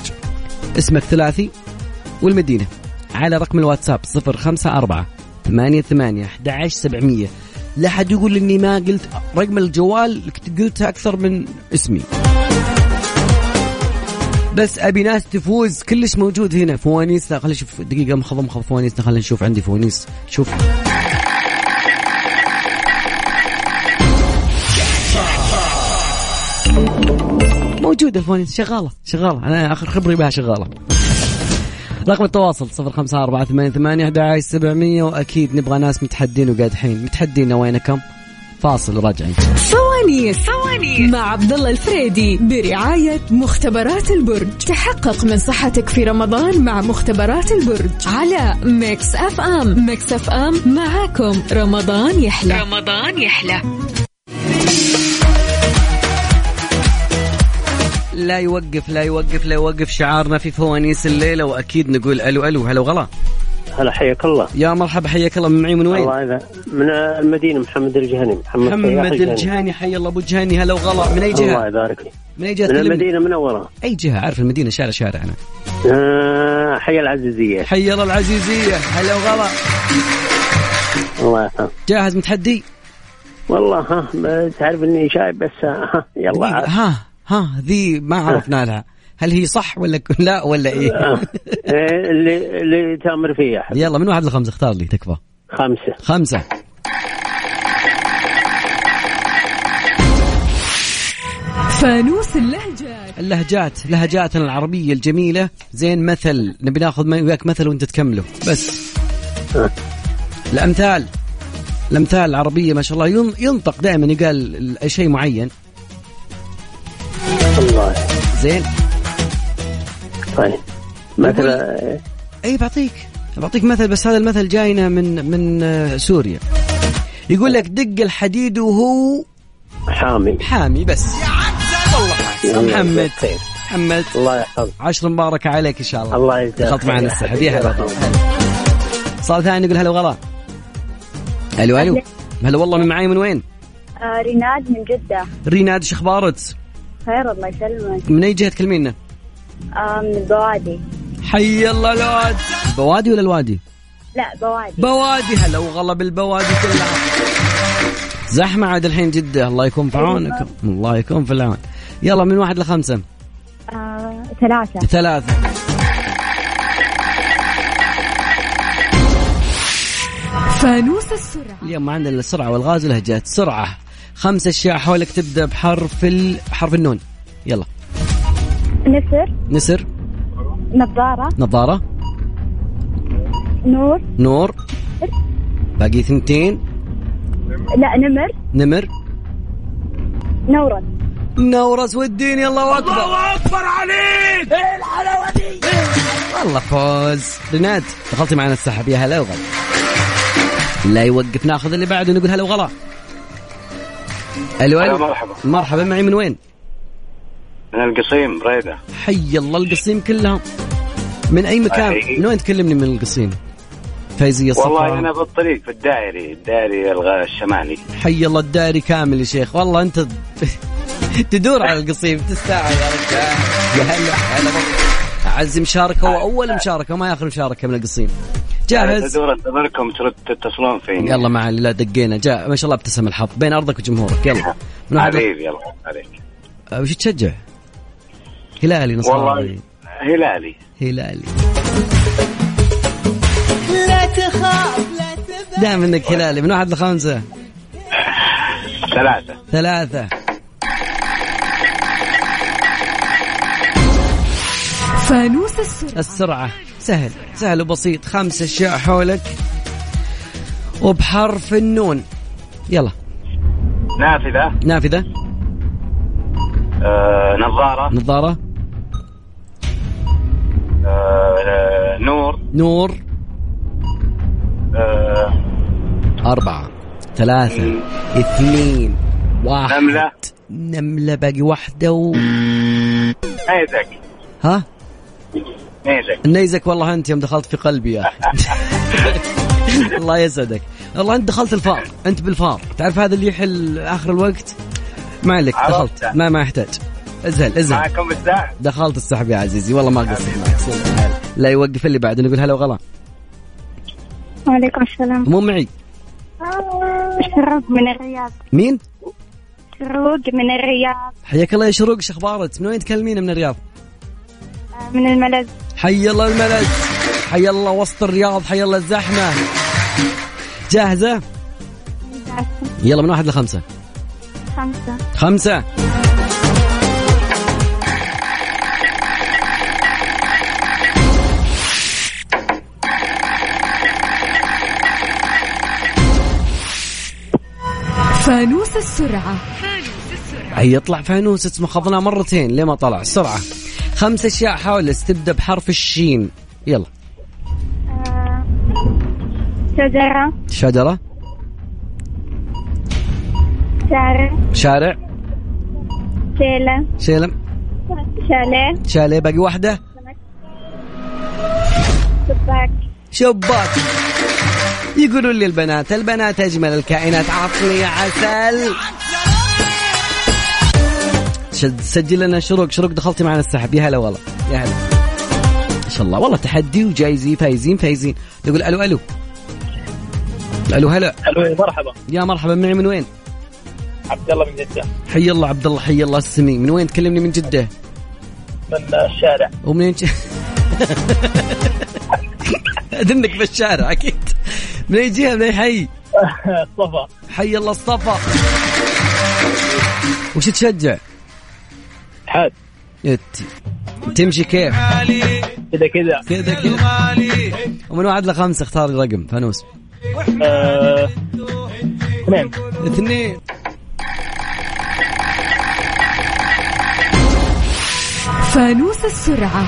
Speaker 3: اسمك ثلاثي والمدينة على رقم الواتساب 054 88 11700 لا حد يقول اني ما قلت رقم الجوال قلتها اكثر من اسمي بس ابي ناس تفوز كلش موجود هنا فوانيسنا خلينا نشوف دقيقه مخض مخض فوانيسنا خلينا نشوف عندي فوانيس شوف موجوده الفوانيس شغاله شغاله انا اخر خبري بها شغاله رقم التواصل 0548811700 واكيد نبغى ناس متحدين وقادحين متحدين وينكم فاصل راجعين
Speaker 4: فوانيس فوانيس مع عبد الله الفريدي برعاية مختبرات البرج تحقق من صحتك في رمضان مع مختبرات البرج على ميكس اف ام ميكس اف ام معاكم رمضان يحلى رمضان يحلى
Speaker 3: لا يوقف لا يوقف لا يوقف شعارنا في فوانيس الليله واكيد نقول الو الو هلا وغلا
Speaker 16: هلا حياك الله
Speaker 3: يا مرحبا حياك الله من معي من وين؟
Speaker 16: الله يعذا. من المدينه محمد الجهني محمد, سياح
Speaker 3: محمد الجهاني حي الله ابو جهاني هلا وغلا من اي
Speaker 16: الله
Speaker 3: جهه؟
Speaker 16: يبارك لي
Speaker 3: من اي جهه؟
Speaker 16: من
Speaker 3: تكلمني؟
Speaker 16: المدينه منوره
Speaker 3: اي جهه عارف المدينه شارع شارع انا
Speaker 16: آه حي العزيزيه
Speaker 3: حي الله العزيزيه هلا وغلا
Speaker 16: الله يحفظك
Speaker 3: جاهز متحدي؟
Speaker 16: والله ها ما تعرف اني شايب بس آه، ها يلا
Speaker 3: دقيقة،
Speaker 16: عاد.
Speaker 3: ها ها ذي ما عرفنا لها هل هي صح ولا ك- لا ولا
Speaker 16: (laughs)
Speaker 3: ايه؟
Speaker 16: آه. إيه، اللي اللي تامر فيه يا حبيبي.
Speaker 3: (laughs) يلا من واحد لخمسه اختار لي تكفى
Speaker 16: خمسه
Speaker 3: خمسه
Speaker 4: فانوس اللهجات
Speaker 3: اللهجات لهجاتنا العربية الجميلة زين مثل نبي ناخذ من وياك مثل وانت تكمله بس الأمثال الأمثال العربية ما شاء الله ين- ينطق دائما يقال ال- شيء معين
Speaker 16: الله
Speaker 3: زين
Speaker 16: طيب مثلا
Speaker 3: اي بعطيك بعطيك مثل بس هذا المثل جاينا من من آه، سوريا يقول لك دق الحديد وهو
Speaker 16: حامي
Speaker 3: حامي بس والله محمد
Speaker 8: طيب.
Speaker 3: محمد
Speaker 16: الله يحفظك
Speaker 3: عشر مباركة عليك إن شاء الله
Speaker 16: الله يجزاك
Speaker 3: دخلت معنا
Speaker 16: خير.
Speaker 3: السحب يا هلا
Speaker 16: يا
Speaker 3: صار ثاني نقول هلا وغلا الو الو هلا والله من معاي من وين؟
Speaker 5: آه ريناد من جدة
Speaker 3: ريناد شو اخبارك؟
Speaker 5: خير الله يسلمك
Speaker 3: من اي جهه تكلمينا؟
Speaker 5: آه من البوادي
Speaker 3: حي الله الواد بوادي ولا الوادي؟
Speaker 5: لا بوادي
Speaker 3: بوادي هلا وغلا بالبوادي كلها زحمه عاد الحين جده الله يكون في عونكم الله يكون في العون يلا من واحد لخمسه
Speaker 5: آه ثلاثة
Speaker 3: ثلاثة
Speaker 4: فانوس السرعة
Speaker 3: اليوم ما عندنا الا السرعة والغاز والهجات سرعة خمس أشياء حولك تبدأ بحرف ال... حرف النون يلا
Speaker 5: نسر
Speaker 3: نسر
Speaker 5: نظارة
Speaker 3: نظارة
Speaker 5: نور
Speaker 3: نور باقي ثنتين
Speaker 5: لا نمر
Speaker 3: نمر
Speaker 5: نورس
Speaker 3: نورس والدين الله أكبر
Speaker 17: الله أكبر عليك إيه الحلاوة دي
Speaker 3: والله فوز ريناد دخلتي معنا السحب يا هلا وغلا لا يوقف ناخذ اللي بعده نقول هلا وغلا الو الو
Speaker 6: مرحبا
Speaker 3: مرحبا معي من وين؟
Speaker 6: من القصيم بريده
Speaker 3: حي الله القصيم كلهم من اي مكان؟
Speaker 6: أي.
Speaker 3: من وين تكلمني من القصيم؟ فايزيه الصفا
Speaker 6: والله انا بالطريق في الدائري الدائري الغ- الشمالي
Speaker 3: حي الله الدائري كامل يا شيخ والله انت (laughs) تدور على القصيم تستاهل يا رجال يا هلا هلا والله. اعز مشاركه واول مشاركه وما ياخذ مشاركه من القصيم جاهز
Speaker 6: ادور انتظركم ترد تتصلون فيني
Speaker 3: يلا ما علي لا دقينا جاء ما شاء الله ابتسم الحظ بين ارضك وجمهورك يلا من واحد-
Speaker 6: حبيبي الله عليك
Speaker 3: أه، وش تشجع؟ هلالي نصراوي
Speaker 6: والله هلالي
Speaker 3: هلالي
Speaker 18: لا تخاف لا
Speaker 3: دائما انك هلالي من واحد لخمسه
Speaker 6: ثلاثة
Speaker 3: ثلاثة
Speaker 4: فانوس السرعة
Speaker 3: السرعة سهل سهل وبسيط خمس أشياء حولك وبحرف النون يلا
Speaker 6: نافذة
Speaker 3: نافذة
Speaker 6: آه، نظارة
Speaker 3: نظارة
Speaker 6: آه، آه، نور
Speaker 3: نور
Speaker 6: آه،
Speaker 3: أربعة ثلاثة اثنين واحد
Speaker 6: نملة.
Speaker 3: نملة باقي واحدة و...
Speaker 6: نيزك
Speaker 3: ها
Speaker 6: نيزك
Speaker 3: النيزك والله أنت يوم دخلت في قلبي يا أخي (laughs) الله يسعدك والله أنت دخلت الفار أنت بالفار تعرف هذا اللي يحل آخر الوقت ما عليك دخلت ما ما يحتاج ازهل ازهل
Speaker 6: معكم الساعة
Speaker 3: دخلت السحب يا عزيزي والله ما قصرت معك سلام. لا يوقف اللي بعد نقول هلا وغلا
Speaker 5: وعليكم السلام
Speaker 3: مو معي
Speaker 5: آه. شروق من الرياض
Speaker 3: مين
Speaker 5: شروق من الرياض
Speaker 3: حياك الله يا شروق شو اخبارك من وين تكلمينا من الرياض
Speaker 5: آه، من الملز
Speaker 3: حي الله الملز حي الله وسط الرياض حي الله الزحمه جاهزه يلا من واحد لخمسه
Speaker 5: خمسة
Speaker 3: خمسه
Speaker 4: فانوس السرعة
Speaker 3: اي يطلع فانوس اسمه خضناه مرتين ليه ما طلع سرعه خمس اشياء حاول تبدا بحرف الشين يلا
Speaker 5: شجرة
Speaker 3: شجره
Speaker 5: شارع
Speaker 3: شارع
Speaker 5: شيلة
Speaker 3: شيلم
Speaker 5: شاليه
Speaker 3: شاليه باقي واحده
Speaker 5: شباك
Speaker 3: شباك يقولوا لي البنات البنات اجمل الكائنات عطني عسل شد- سجل لنا شروق شروق دخلتي معنا السحب يا هلا والله يا هلا ما شاء الله والله تحدي وجايزين فايزين فايزين نقول الو الو الو هلا
Speaker 8: الو مرحبا
Speaker 3: يا مرحبا معي من وين
Speaker 8: عبد الله من جدة
Speaker 3: حي الله عبد الله حي الله السمي من وين تكلمني من جده
Speaker 8: من الشارع
Speaker 3: (laughs) ومنين ج- اذنك بالشارع اكيد من اي جهه من اي حي
Speaker 8: الصفا
Speaker 3: حي الله الصفا وش تشجع؟
Speaker 8: حاد
Speaker 3: يت- تمشي كيف؟
Speaker 8: كذا كذا
Speaker 3: كذا كذا ومن واحد لخمسة اختار لي رقم فانوس
Speaker 8: آه، اثنين
Speaker 3: اثنين
Speaker 4: فانوس السرعة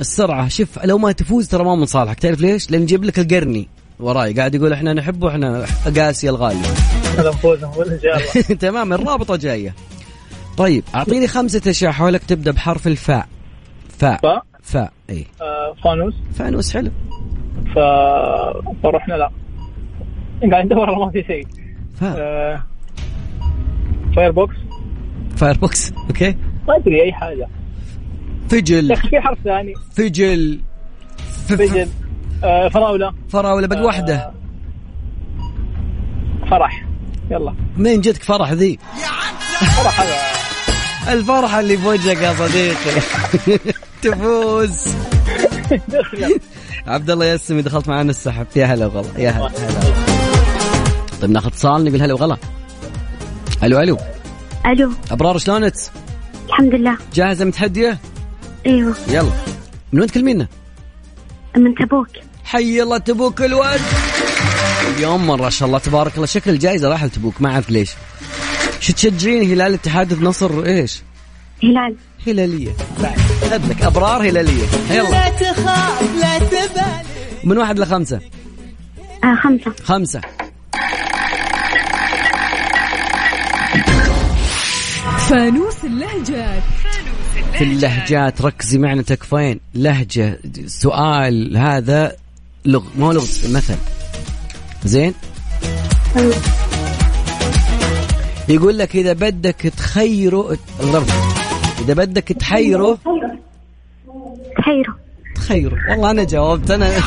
Speaker 3: السرعة شوف لو ما تفوز ترى ما من صالحك تعرف ليش؟ لأن جيب لك القرني وراي قاعد يقول احنا نحبه احنا قاسي الغالي
Speaker 8: هذا نفوز نفوز ان شاء الله
Speaker 3: (laughs) تمام الرابطة جاية طيب أعطيني خمسة أشياء حولك تبدأ بحرف الفاء فاء
Speaker 8: فاء؟
Speaker 3: فاء اي
Speaker 8: آه، فانوس
Speaker 3: فانوس حلو
Speaker 8: ف... فرحنا لا قاعد ندور والله ما في شيء
Speaker 3: فاء
Speaker 8: آه، فاير بوكس
Speaker 3: فاير بوكس اوكي
Speaker 8: ما ادري اي حاجه يا
Speaker 3: فجل
Speaker 8: اخي في حرف ثاني
Speaker 3: فجل ف- ف-
Speaker 8: فجل آه، فراوله
Speaker 3: فراولة باقي واحدة
Speaker 8: فرح يلا
Speaker 3: من جدك فرح ذي
Speaker 8: فرح هذا
Speaker 3: الفرحة اللي في وجهك يا صديقي تفوز (laughs) عبد الله يسمي دخلت معانا السحب يا هلا وغلا يا هلا هلا طيب ناخذ اتصال نقول هلا وغلا الو الو
Speaker 11: الو
Speaker 3: ابرار شلونك؟
Speaker 11: الحمد لله
Speaker 3: جاهزة متحدية؟
Speaker 5: أيوه.
Speaker 11: ايوه
Speaker 3: يلا من وين تكلمينا؟
Speaker 11: من تبوك
Speaker 3: حي الله تبوك الواد اليوم ما شاء الله تبارك الله شكل الجائزة راح لتبوك ما اعرف ليش شو تشجعين هلال اتحاد نصر ايش؟
Speaker 11: هلال
Speaker 3: هلالية بعد هبلك ابرار هلالية يلا
Speaker 7: لا تخاف لا تبالي
Speaker 3: من واحد لخمسة
Speaker 11: آه خمسة
Speaker 3: خمسة
Speaker 4: فانوس اللهجات
Speaker 3: في اللهجات ركزي معنا تكفين لهجة سؤال هذا لغ مو لغة مثل زين يقول لك إذا بدك تخيره الرب. إذا بدك تحيره
Speaker 11: تحيروا
Speaker 3: تخيره والله أنا جاوبت أنا (laughs)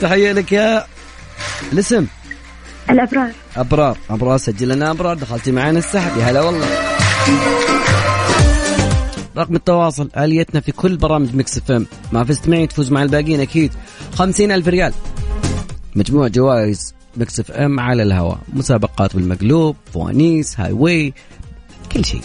Speaker 3: تحية لك يا الاسم
Speaker 11: الأبرار
Speaker 3: ابرار ابرار سجل لنا ابرار دخلتي معنا السحب يا هلا والله رقم التواصل آليتنا في كل برامج ميكس اف ام ما فزت معي تفوز مع الباقيين أكيد خمسين ألف ريال مجموع جوائز ميكس اف ام على الهواء مسابقات بالمقلوب فوانيس هاي واي كل شيء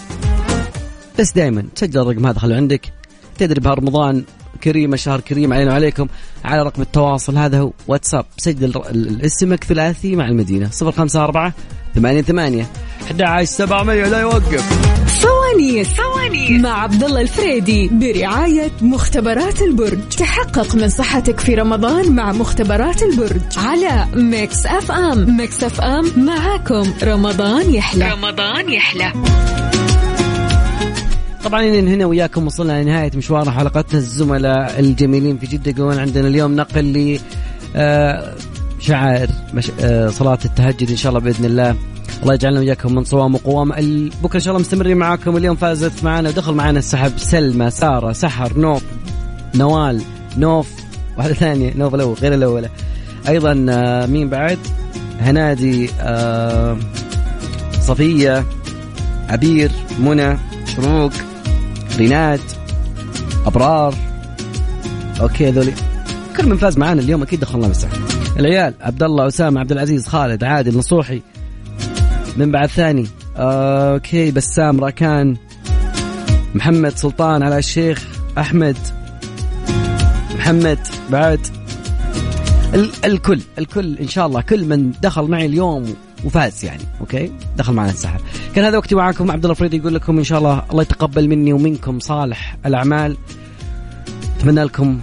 Speaker 3: بس دائما سجل الرقم هذا خلوه عندك تدري بها رمضان كريم شهر كريم علينا وعليكم على رقم التواصل هذا هو واتساب سجل ر- ال- اسمك ثلاثي مع المدينة 054 88 11700 لا يوقف
Speaker 4: فوانيس فوانيس مع عبد الله الفريدي برعاية مختبرات البرج تحقق من صحتك في رمضان مع مختبرات البرج على ميكس اف ام ميكس اف ام معاكم رمضان يحلى رمضان يحلى
Speaker 3: طبعا إن هنا وياكم وصلنا لنهاية مشوار حلقتنا الزملاء الجميلين في جدة يقولون عندنا اليوم نقل ل آه، شعائر مش... آه، صلاة التهجد إن شاء الله بإذن الله الله يجعلنا وياكم من صوام وقوام ال- بكره ان شاء الله مستمرين معاكم اليوم فازت معنا ودخل معنا السحب سلمى ساره سحر نوف نوال نوف واحدة ثانية نوف الأول غير الأولى أيضا آه، مين بعد هنادي آه، صفية عبير منى شروق ريناد أبرار أوكي ذولي كل من فاز معانا اليوم أكيد دخلنا مساحة العيال عبد الله أسامة عبد العزيز خالد عادل نصوحي من بعد ثاني آه، أوكي بسام راكان محمد سلطان على الشيخ أحمد محمد بعد ال- الكل الكل ان شاء الله كل من دخل معي اليوم وفاز يعني اوكي دخل معنا السحب كان هذا وقتي معاكم عبد الله فريدي يقول لكم ان شاء الله الله يتقبل مني ومنكم صالح الاعمال اتمنى لكم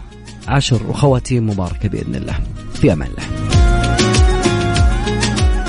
Speaker 3: عشر وخواتيم مباركه باذن الله في امان الله